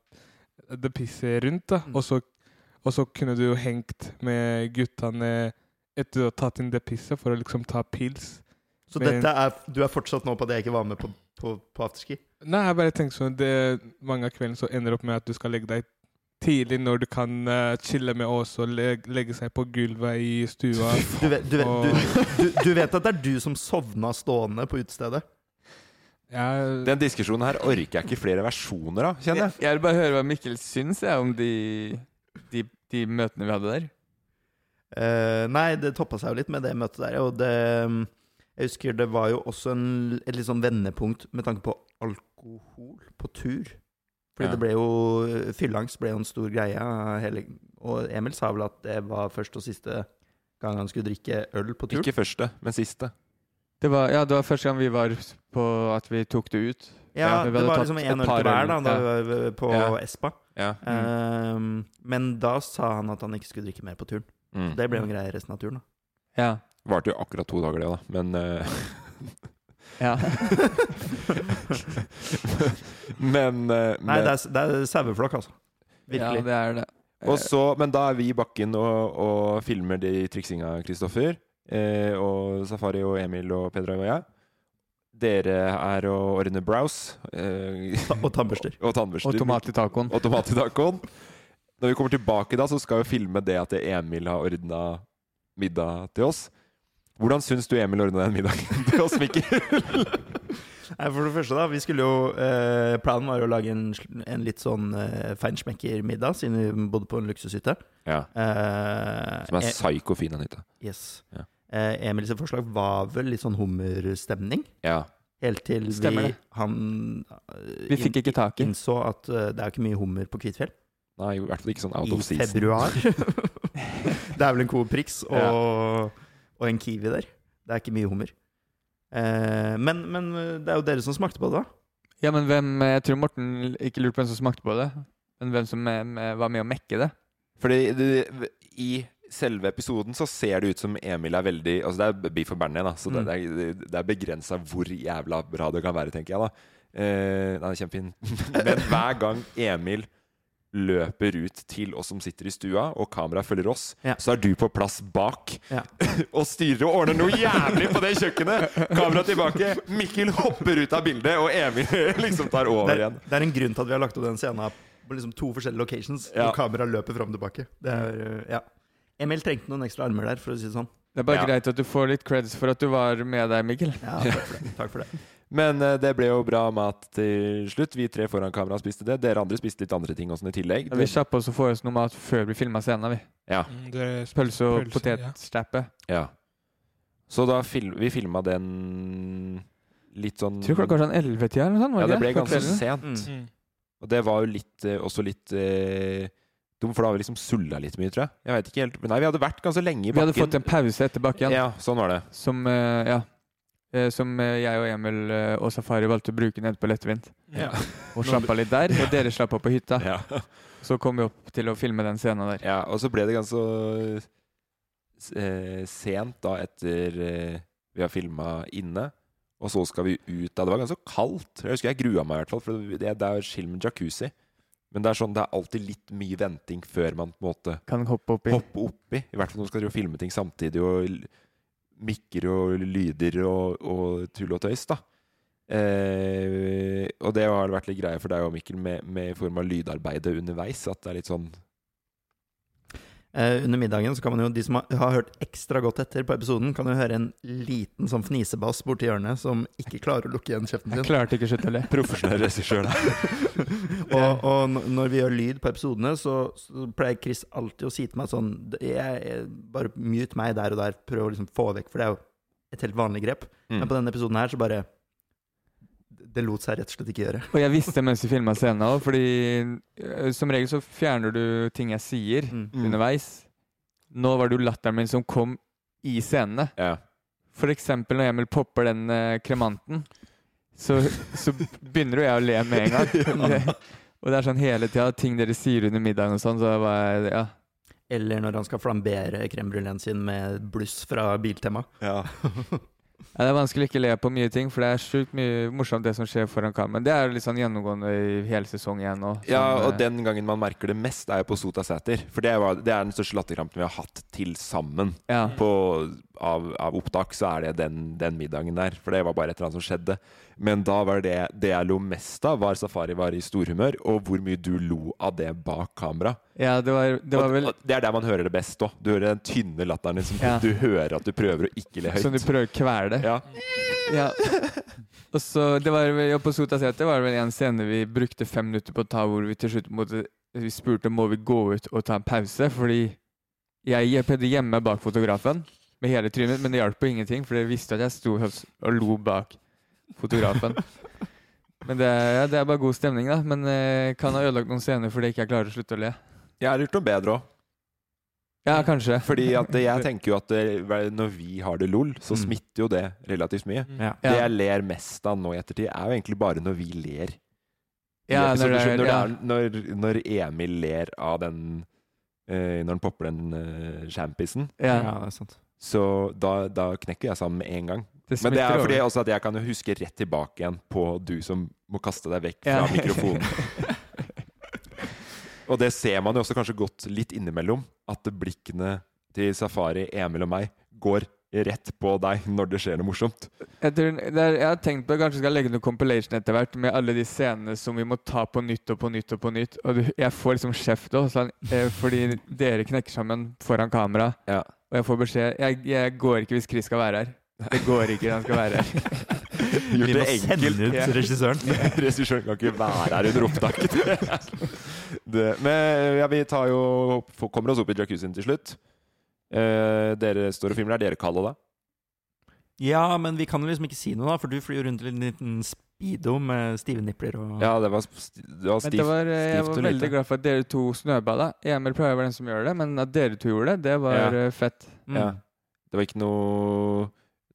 A: det pisset rundt, da.
H: Mm.
A: Og så, og så kunne du jo hengt med guttene etter å ha tatt inn det pisset, for å liksom ta pils.
H: Så
A: Men-
H: dette er, du er fortsatt nå på at jeg ikke var med på, på, på afterski?
A: Nei, jeg bare tenker sånn det, Mange av kveldene så ender det opp med at du skal legge deg tidlig når du kan eh, chille med oss og leg, legge seg på gulvet i stua.
H: Du vet, du, vet, du, du, du vet at det er du som sovna stående på utestedet?
A: Jeg,
B: den diskusjonen her orker jeg ikke flere versjoner av, kjenner
C: Jeg,
B: jeg.
C: jeg vil bare høre hva Mikkel syns jeg, om de, de, de møtene vi hadde der.
H: Eh, nei, det toppa seg jo litt med det møtet der.
D: mm,
H: Og det Jeg husker det var jo også en, et litt sånn vendepunkt med tanke på
D: alkohol på tur. Fordi
G: Ja.
D: det ble jo eh, Fyllangst ble jo en stor greie. Hele, og Emil sa vel at det var første og siste gang han skulle drikke øl på tur.
B: Ikke første, men siste.
C: Det var, ja, det var første gang vi var på at vi tok det ut.
D: Ja,
C: vi
D: det
C: hadde
D: var
C: tatt
D: liksom
C: et
D: én øl
C: par
D: til hver da, da
C: Ja.
D: vi var på
C: Ja. Mm.
D: Espa.
B: Ja.
D: Ehm, men da sa han at han ikke skulle drikke mer på turen.
B: Mm.
D: Så det ble jo en greie resten av turen. da.
C: Ja.
B: Varte jo akkurat to dager, det, da. Men eh,
C: Ja.
B: Men, eh,
D: Nei,
B: men
D: det er, det er saueflokk, altså.
C: Ja,
D: Virkelig.
C: det er det.
B: Og så, men da er vi i bakken og, og filmer de triksinga, Kristoffer. Eh, og Safari og Emil og Pedra og jeg. Dere er og ordner brows. Eh,
D: og tannbørster.
B: Og, tannbørster.
C: Og tomat i tacoen.
B: Og tomat i tacoen. Når vi kommer tilbake da, så skal vi filme det at Emil har ordna middag til oss. Hvordan syns du Emil ordna den middagen til oss, Mikkel?
D: Nei, for det første da, vi skulle jo eh, Planen var jo å lage en, sl- en litt sånn eh, feinschmecker-middag, siden vi bodde på en luksushytte.
B: Ja.
D: Eh,
B: Som er
D: eh,
B: psyko fin, den hytta.
D: Yes.
B: Ja.
D: Eh, Emil sitt forslag var vel litt sånn hummerstemning.
B: Ja.
D: Helt til
C: Stemmer
D: vi,
C: det.
D: han
C: Vi fikk ikke tak i.
D: innså at eh, det er jo ikke mye hummer på Kvitfjell.
B: Nei, i hvert fall ikke sånn out
D: I
B: of season.
D: februar. det er vel en Coop Prix og, og en Kiwi der. Det er ikke mye hummer. Eh, men, men det er jo dere som smakte på det, da.
C: Ja, men hvem Jeg tror Morten ikke lurte på hvem som smakte på det, men hvem som eh, med- var med å mekke det.
B: Fordi det, i selve episoden så ser det ut som Emil er veldig Altså det er beef og Bernie, da, så
D: Mm.
B: det, det er, det er begrensa hvor jævla bra det kan være, tenker jeg, da. Eh, nei, kjempefin. Men hver gang Emil løper ut til oss som sitter i stua, og kameraet følger oss,
D: Ja.
B: så er du på plass bak
D: Ja.
B: og styrer og ordner noe jævlig på det kjøkkenet! Kamera tilbake, Mikkel hopper ut av bildet, og Emil liksom tar over
D: Det er,
B: igjen.
D: det er en grunn til at vi har lagt opp den scenen på liksom to forskjellige locations.
B: Ja.
D: Og kamera løper fram og tilbake. Det er, eh, ja. Emil trengte noen ekstra armer der, for å si det sånn.
C: Det er bare
B: Ja.
C: greit at du får litt creds for at du var med der, Mikkel.
D: Ja, takk for det. Takk for det.
B: Men eh, det ble jo bra mat til slutt. Vi tre foran kamera spiste det. Dere andre spiste litt andre ting også i tillegg.
C: Ja, vi kjappa oss og får oss noe mat før vi filma scenen. vi.
B: Ja.
C: Pølse og
A: Mm, Pølse, ja.
C: potetstappe.
B: ja. Så da fil vi filma den litt sånn
C: Tror klokka var sånn 11-tida eller noe sånt. var
B: Ja, det ble
C: ikke På
B: ganske
C: kvelden. Mm.
B: sent.
A: Mm.
B: Og det var jo litt eh, også litt eh, dumt, for da har vi liksom sulla litt mye, tror jeg. Jeg vet ikke helt Men Nei, vi hadde vært ganske lenge
C: Vi
B: i bakken.
C: hadde fått en pause etter bakken,
B: Ja, sånn var det.
C: som, eh, ja, eh, som eh, jeg og Emil eh, og Safari valgte å bruke nede på lettvint.
B: Ja.
C: Og slappa litt der, og dere slappa på hytta.
B: Ja.
C: Så kom vi opp til å filme den scenen der.
B: ja og så ble det ganske så, eh, sent da etter eh, vi har filma inne. Og så skal vi ut da. Det var ganske kaldt. Jeg husker jeg grua meg i hvert fall, for det, det er jo chill med jacuzzi. Men det er sånn, det er alltid litt mye venting før man på en måte
C: Kan hoppe oppi.
B: hoppe oppi. I hvert fall når du skal drive og filme ting samtidig, og l- mikker og lyder og, og tull og tøys, da. Eh, og det har vært litt greie for deg og Mikkel med, med i form av lydarbeidet underveis. At det er litt sånn
D: Eh, under middagen så kan man jo, de som har, har hørt ekstra godt etter på episoden, kan jo høre en liten sånn fnisebass borti hjørnet som ikke klarer å lukke igjen kjeften
C: Jeg
D: sin.
C: klarte ikke å slutte å le.
B: profesjonell regissør, da.
D: Og, og n- når vi gjør lyd på episodene, så, så pleier Chris alltid å si til meg sånn "D- jeg, jeg, Bare mute meg der og der, prøv å liksom få vekk, for det er jo et helt vanlig grep.
B: Mm.
D: Men på denne episoden her så bare Det lot seg rett og slett ikke gjøre.
C: Og jeg visste mens vi filma scenen òg, fordi eh, som regel så fjerner du ting jeg sier
D: Mm.
B: Mm.
C: underveis. Nå var det jo latteren min som kom i scenene.
B: Ja.
C: For eksempel når Emil popper den eh, kremanten, så, så begynner jo jeg å le med en gang. Det, og det er sånn hele tida, ting dere sier under middagen og sånn, så var jeg Ja.
D: Eller når han skal flambere crème bruléen sin med bluss fra Biltema.
B: ja.
C: Ja, det er vanskelig å ikke le på mye ting, for det er sjukt mye morsomt det som skjer foran kameraet. Men Det er jo litt sånn gjennomgående i hele sesongen igjen nå.
B: Ja,
C: Sånn,
B: og
C: eh,
B: den gangen man merker det mest, er jo på Sota Sæter. For det, var, det er den største latterkrampen vi har hatt til sammen.
C: ja.
B: På, av, av opptak så er det den, den middagen der. For det var bare et eller annet som skjedde. Men da var det det jeg lo mest av, var Safari var i storhumør, og hvor mye du lo av det bak kamera.
C: ja, det var, det var
B: Og-
C: vel
B: og det er der man hører det best òg. Du hører den tynne latteren din som
C: Ja.
B: du hører at du prøver å ikke le høyt.
C: som du prøver å kvele.
B: ja.
C: Ja. Og så det var, vel- ja, På Sota Sete var det vel en scene vi brukte fem minutter på å ta, hvor vi til slutt måtte, vi spurte må vi gå ut og ta en pause. Fordi jeg prøvde hjemme bak fotografen med hele trynet mitt, men det hjalp på ingenting, for jeg visste at jeg sto og og lo bak fotografen. Men det er, ja, det er bare god stemning, da. Men eh, kan ha ødelagt noen scener fordi jeg ikke klarer å slutte å le.
B: Jeg har gjort noe bedre òg.
C: Ja, kanskje.
B: Fordi at jeg tenker jo at det, når vi har det lol, så smitter jo det relativt mye.
C: Mm. Ja.
B: Det jeg ler mest av nå i ettertid, er jo egentlig bare når vi ler. I
C: Ja, når
B: episoder,
C: det er-
B: når,
C: ja.
B: det er, når, når Emil ler av den eh, Når han popper den uh, sjampisen,
C: Ja.
H: Ja, det er sant.
B: så da, da knekker jeg sammen med en gang.
C: Det
B: Men det
C: smitter
B: er fordi
C: over.
B: også at jeg kan jo huske rett tilbake igjen på du som må kaste deg vekk fra
C: Ja.
B: mikrofonen. Og det ser man jo også kanskje godt litt innimellom, at blikkene til Safari, Emil og meg går rett på deg når det skjer noe morsomt.
C: Jeg, tror, det er, jeg har tenkt på at jeg kanskje skal legge noe compilation etter hvert med alle de scenene som vi må ta på nytt og på nytt og på nytt. Og du, jeg får liksom kjeft òg, fordi dere knekker sammen foran kamera.
B: Ja.
C: Og jeg får beskjed jeg, jeg går ikke hvis Chris skal være her. Det går ikke han skal være her.
B: Gjort det
D: Vi må sende
B: enkelt.
D: ut
B: Ja.
D: regissøren.
B: regissøren kan ikke være her under opptaket. det, men ja, vi tar jo, kommer oss opp i jacuzzien til slutt. Eh, dere står og filmer der. Dere kaller det.
D: Ja, men vi kan jo liksom ikke si noe, da, for du flyr jo rundt i en liten speedo med stive nipler og
B: Ja, det var, st- det var
C: Men
B: stivt.
C: det var, eh, jeg
B: stivt
C: var
B: og lite.
C: veldig glad for at dere to snøbada. Emil pleier å være den som gjør det, men at dere to gjorde det, det var
B: Ja.
C: eh, fett.
D: Mm.
B: Ja. Det var ikke noe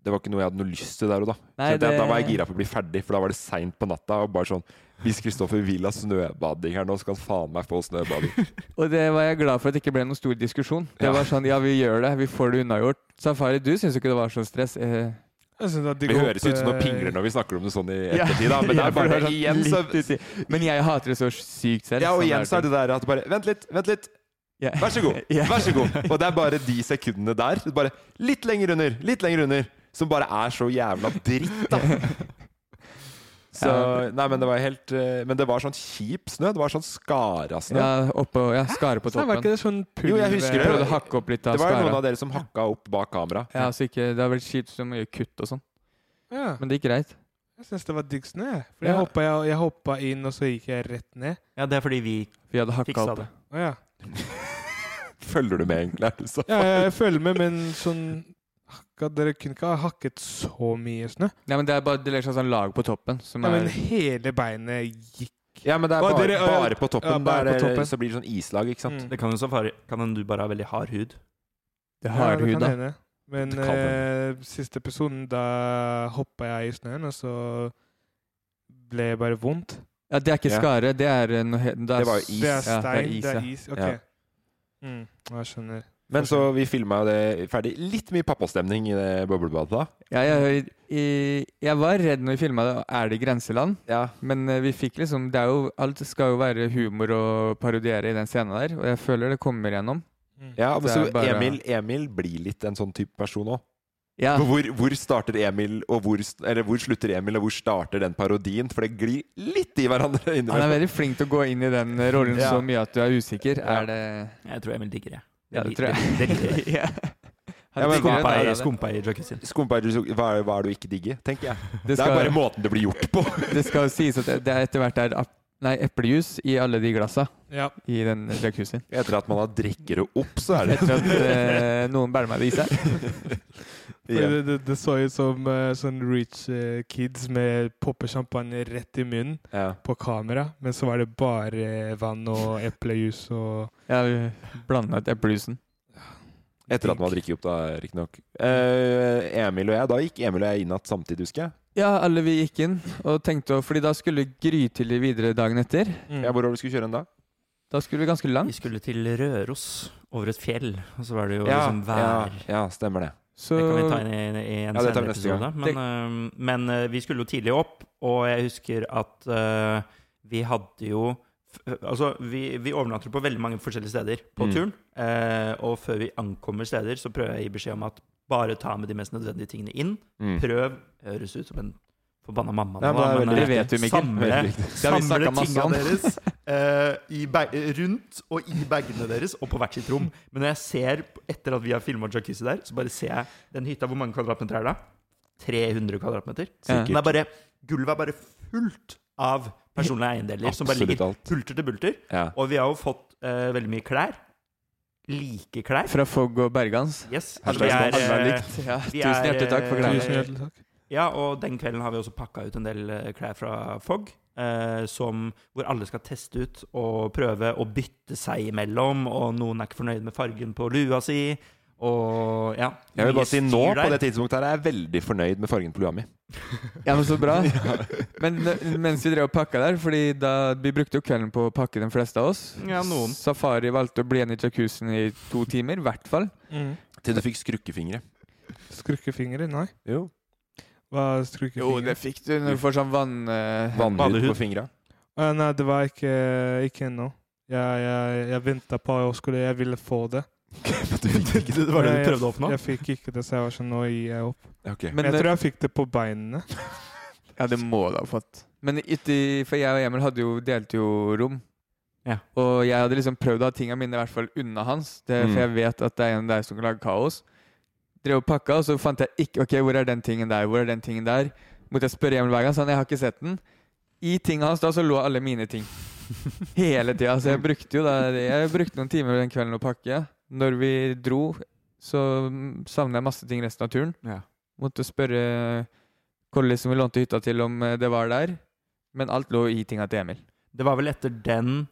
B: Det var ikke noe jeg hadde noe lyst til der og da.
C: Nei,
B: Så det...
C: det-
B: Da var jeg gira på å bli ferdig, for da var det seint på natta. Og bare sånn Hvis Kristoffer vil ha snøbading her nå, så kan faen meg få snøbading.
C: Og det var jeg glad for at det ikke ble noen stor diskusjon. Det
B: Ja.
C: var sånn ja, vi gjør det, vi får det unnagjort. Safari, du syns jo ikke det var så stress. Eh,
A: Jeg synes det er digg
B: Vi
A: å
B: høres ut som noen
A: hoppe-
B: pingler når vi snakker om det sånn i
C: Ja.
B: ettertid, da. Men det
C: Ja,
B: er
C: for
B: bare
C: det er sånn
B: igjen så
C: litt uti. Men jeg hater det så sykt selv.
B: Ja, og
C: sånn
B: igjen så er det der at bare Vent litt, vent litt.
C: Ja.
B: Vær så god.
C: Ja.
B: Vær så god. Og det er bare de sekundene der, bare litt lenger under, litt lenger under, som bare er så jævla dritt, da. Så Nei, men det var helt eh, Men det var sånn kjip snø. Det var sånn skarasnø.
C: Ja, oppå, ja, skare på
A: Så var ikke
C: toppen.
A: det sånn pulver
B: Jo, jeg husker det.
C: Prøvde å hakke opp litt av
B: Det var jo noen
C: skara.
B: av dere som hakka opp bak kamera.
C: Ja, så ikke, det har vært kjipt så mye kutt og sånn.
A: Ja.
C: Men det gikk greit.
A: Jeg syns det var digg snø. jeg. For
C: Ja.
A: jeg, hoppa, jeg, jeg hoppa inn, og så gikk jeg rett ned.
D: Ja, det er fordi vi
C: Vi hadde hakka
D: Fiksa
C: opp.
D: det.
A: Å, ja.
B: Følger du med, egentlig? er det så?
A: Ja, jeg følger med, men sånn hakka, Dere kunne ikke ha hakket så mye snø.
C: Nei, men det er bare det legger seg sånn lag på toppen som
A: Ja, men
C: er
A: hele beinet gikk
B: Ja, men det er
A: Å,
B: bare,
A: dere- å, ja.
B: bare på toppen.
A: Ja, bare
B: der,
A: på toppen.
B: Så blir det sånn islag, ikke sant.
D: Det kan jo safari Kan hende du bare har veldig hard hud.
C: Det har
A: det
C: hud,
A: kan
C: da.
A: hende. Men
B: Det kan
A: eh, siste episoden, da hoppa jeg i snøen, og så ble det bare vondt.
C: Ja, det er ikke
B: Ja.
C: skare, det er eh, noe he- det,
B: Det var jo is.
A: Det er
C: Ja,
A: stein, det er is. Ok.
B: Ja.
A: Mm, jeg skjønner.
B: Men så vi filma det ferdig. Litt mye pappastemning i det boblebadet da.
C: Ja, jeg, jeg, jeg var redd når vi filma det. Er det grenseland?
B: Ja.
C: Men eh, vi fikk liksom det er jo, Alt skal jo være humor og parodiere i den scenen der. Og jeg føler det kommer gjennom.
A: Mm.
B: Ja, men
C: Det
B: så
C: er bare-
B: Emil, Emil blir litt en sånn type person òg.
C: Ja,
B: Hvor, hvor starter Emil, og hvor, st- eller hvor slutter Emil, og hvor starter den parodien? For det glir litt i hverandre
C: Han er
B: innimellom.
C: veldig flink til å gå inn i den eh, rollen
B: Ja.
C: så mye at du er usikker.
B: Ja.
C: Er det
D: Jeg tror Emil digger det.
C: Ja, det tror
D: jeg. Det liker jeg.
C: Ja.
B: Ja, men
C: digger
B: hva
D: Skumpa
C: det,
D: i,
C: da, det.
D: skumpa i jacuzzien.
B: Skumpa, er du- hva, er- hva er du ikke digger, tenker jeg.
C: Det
B: Det er bare
C: skal,
B: måten det blir gjort på.
C: det skal jo sies at det er etter hvert er ap- nei, eplejus i alle de glassa
A: Ja.
C: i den jacuzzien.
B: Etter at man har drikker det opp, så er det
C: Etter at eh, noen bærer meg det i seg.
A: Fordi Det, det, det så ut som eh, sånn rich eh, kids med popper champagne rett i munnen
B: Ja.
A: på kamera, men så var det bare eh, vann og eplejus og
C: Jeg blanda ut eplejusen.
B: Etter at man har drukket opp, da, riktignok. Eh, Emil og jeg, da gikk Emil og jeg inn igjen samtidig, husker jeg.
C: Ja, alle vi gikk inn og tenkte å- Fordi da skulle Gry til i videre dagen etter.
B: Ja, hvor var det vi skulle kjøre en da?
C: Da skulle vi ganske
D: Vi
C: langt.
D: skulle til Røros, over et fjell, og så var det jo
B: ja,
D: liksom vær.
B: ja, ja, stemmer det.
C: Så
D: Det kan vi ta inn i, i en
B: Ja, det tar vi
D: senere
B: neste gang.
D: episode. Men, øhm, men øh, vi skulle jo tidlig opp, og jeg husker at øh, vi hadde jo f- øh, Altså, vi, vi overnatter på veldig mange forskjellige steder på
B: Mm.
D: turen. eh, og før vi ankommer steder, så prøver jeg å gi beskjed om at bare ta med de mest nødvendige tingene inn.
B: Mm.
D: Prøv. Høres ut som en forbanna mamma.
B: Ja,
D: nå,
B: men det er
D: da,
B: veldig
D: eh,
C: Det vet du, Mikkel.
D: Samle,
B: Veldig
C: Det har vi
D: samle
C: snakket masse
D: tinga
C: om.
D: deres eh, i ba- rundt og i bagene deres og på hvert sitt rom. Men når jeg ser, etter at vi har filma jacuzzi der, så bare ser jeg den hytta. Hvor mange kvadratmeter er det? 300 kvadratmeter.
C: Ja.
D: Den er bare, gulvet er bare fullt av personlige eiendeler som bare
B: Absolutt
D: ligger
B: alt.
D: hulter til bulter.
B: Ja.
D: Og vi har jo fått eh, veldig mye klær. Like klær.
C: Fra Fogg og Bergans.
D: Yes.
B: Her
D: Altså, vi
B: slags
D: er,
B: mann.
D: eh,
C: Ja,
D: vi
C: tusen
D: er, eh,
C: hjertelig takk for
D: Nei.
A: Tusen
C: gleden.
A: hjertelig takk.
D: Ja, og den kvelden har vi også pakka ut en del eh, klær fra Fogg. Eh, som, hvor alle skal teste ut og prøve å bytte seg imellom. Og noen er ikke fornøyd med fargen på lua si. Og ja
B: Jeg vil
D: mye
B: bare si nå,
D: styr
B: på
D: der.
B: det tidspunktet her, er jeg veldig fornøyd med fargen på lua mi.
C: Ja, men så bra. Men n- mens vi drev og pakka der, Fordi da vi brukte jo kvelden på å pakke de fleste av oss
D: Ja, noen.
C: Safari valgte å bli igjen i jacuzzien i to timer, i hvert fall.
A: Mm.
B: Til du fikk skrukkefingre.
A: Skrukkefingre? Nei.
B: Jo.
A: Hva er
C: Jo,
A: skrukkefingre?
C: det fikk du når du får sånn vann... eh,
B: Vannhud på fingra.
A: Eh, nei, det var ikke, ikke ennå. Jeg, jeg, jeg venta på å skulle Jeg ville få det.
D: Det var det du prøvde å
A: Jeg,
D: oppnå?
A: jeg fikk ikke det, så jeg var sånn Nå gir jeg opp.
B: Ok.
A: Men
C: Men
A: jeg
C: det-
A: tror jeg fikk det på beinene.
C: Ja, det må du ha fått. Men uti, for jeg og Emil hadde jo, delte jo rom.
D: Ja.
C: Og jeg hadde liksom prøvd å ha tingene mine i hvert fall unna hans, det,
B: Mm.
C: for jeg vet at det er en der som kan lage kaos. Drev og pakka, og så fant jeg ikke Ok, hvor er den tingen der? Hvor er den tingen der? Måtte jeg spørre Emil hver gang, så han jeg har ikke sett den. I tinga hans da så lå alle mine ting. Hele tida. Så jeg brukte jo da Jeg brukte noen timer den kvelden å pakke. Når vi dro, så savna jeg masse ting resten av turen.
D: Ja.
C: Måtte spørre Kolli som vi lånte hytta til, om eh, det var der. Men alt lå i tinga til Emil.
D: Det var vel etter den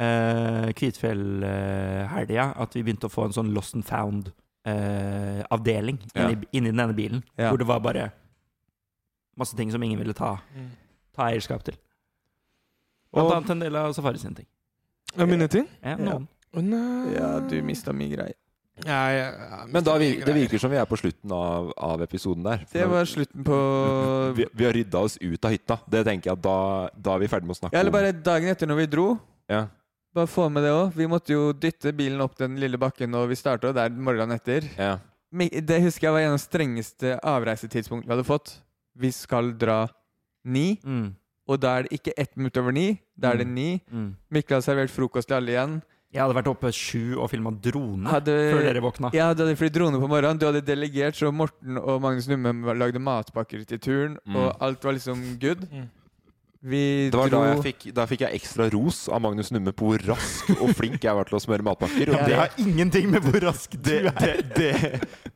D: uh, Kvitfjell-helga at vi begynte å få en sånn lost and found-avdeling
C: Ja.
D: inni, inni den ene bilen.
C: Ja.
D: Hvor det var bare masse ting som ingen ville ta, ta eierskap til. Blant
A: Mm. Og
D: annet en del av Safari sine ting.
A: Ja, mine ting?
D: Ja, noen.
A: Å, nei.
C: mista mye greier.
A: ja, ja,
B: Men da, vi- det virker som vi er på slutten av, av episoden der.
C: Det var slutten på
B: vi, vi har rydda oss ut av hytta. Det tenker jeg at da, da er vi ferdig med å snakke
C: Ja, eller bare dagen etter når vi dro.
B: om ja.
C: Bare få med det òg. Vi måtte jo dytte bilen opp den lille bakken, og vi starta der morgenen etter.
B: Ja.
C: Men Det husker jeg var en av de strengeste avreisetidspunktene vi hadde fått. Vi skal dra ni,
D: Mm,
C: og da er det ikke ett minutt over ni. Da er det
D: Mm.
C: ni.
D: mm.
C: Mikkel hadde servert frokost til alle igjen.
D: Jeg hadde vært oppe sju og filma
B: Mm.
D: drone
C: Hadde,
D: før dere våkna.
C: Ja, du hadde flydd drone på morgenen. Du hadde delegert, så Morten og Magnus Numme lagde matpakker til turen,
B: Mm.
C: og alt var liksom good.
A: Mm.
C: Vi
B: Det var
C: dro
B: da jeg fikk, da fikk jeg ekstra ros av Magnus Numme på hvor rask og flink jeg var til å smøre matpakker. Og det,
D: ingenting med hvor rask
B: det, det, det,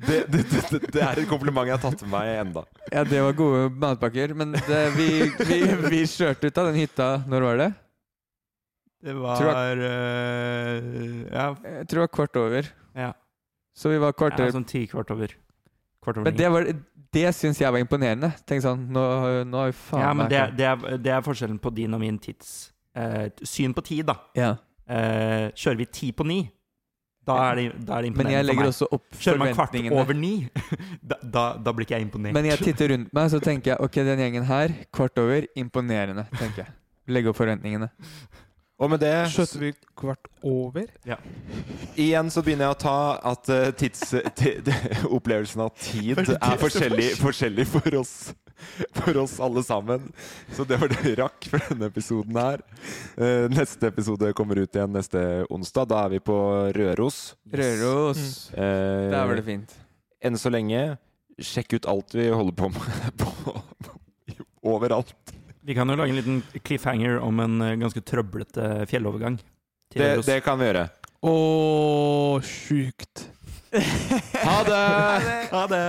B: det, det, det, det er et kompliment jeg har tatt med meg enda.
C: Ja, det var gode matpakker, men det, vi, vi, vi kjørte ut av den hytta Når var det?
D: Det var eh, Ja,
C: Jeg tror det var kvart over.
D: Ja.
C: Så vi var
D: ja
C: kvarter
D: sånn ti kvart over. Kvart over
C: Men
D: ni.
C: det, var- det syns jeg var imponerende. Tenk sånn, nå, nå har vi faen
D: Ja, men
C: meg
D: det, det, er, det er forskjellen på din og min tids eh, syn på tid, da.
C: ja.
D: Eh, kjører vi ti på ni, da er det, da er det
C: Men jeg
D: imponerende for
C: legger
D: meg.
C: også opp
D: Kjører man kvart
C: forventningene.
D: over ni, da, da, da blir ikke jeg imponert.
C: Men jeg titter rundt meg, så tenker jeg ok, den gjengen her, kvart over, imponerende. tenker jeg. Legge opp forventningene.
B: Og med det
A: Skjøt vi kvart over?
B: Igjen så begynner jeg å ta at eh, tids, ti, opplevelsen av tid er forskjellig, forskjellig for, oss, for oss alle sammen. Så det var det vi rakk for denne episoden her. Eh, neste episode kommer ut igjen neste onsdag. Da er vi på Røros.
C: Røros.
B: Eh,
C: Mm. Der var det fint.
B: enn så lenge, sjekk ut alt vi holder på med på, overalt.
D: Vi kan jo lage en liten cliffhanger om en eh, ganske trøblete fjellovergang. til
B: Det,
D: Røros.
B: det kan vi gjøre.
A: Å, sjukt.
B: Ha det!
D: Ha det!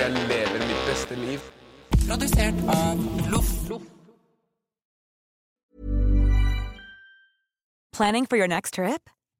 G: Jeg lever mitt beste liv.
I: Planning for your next trip?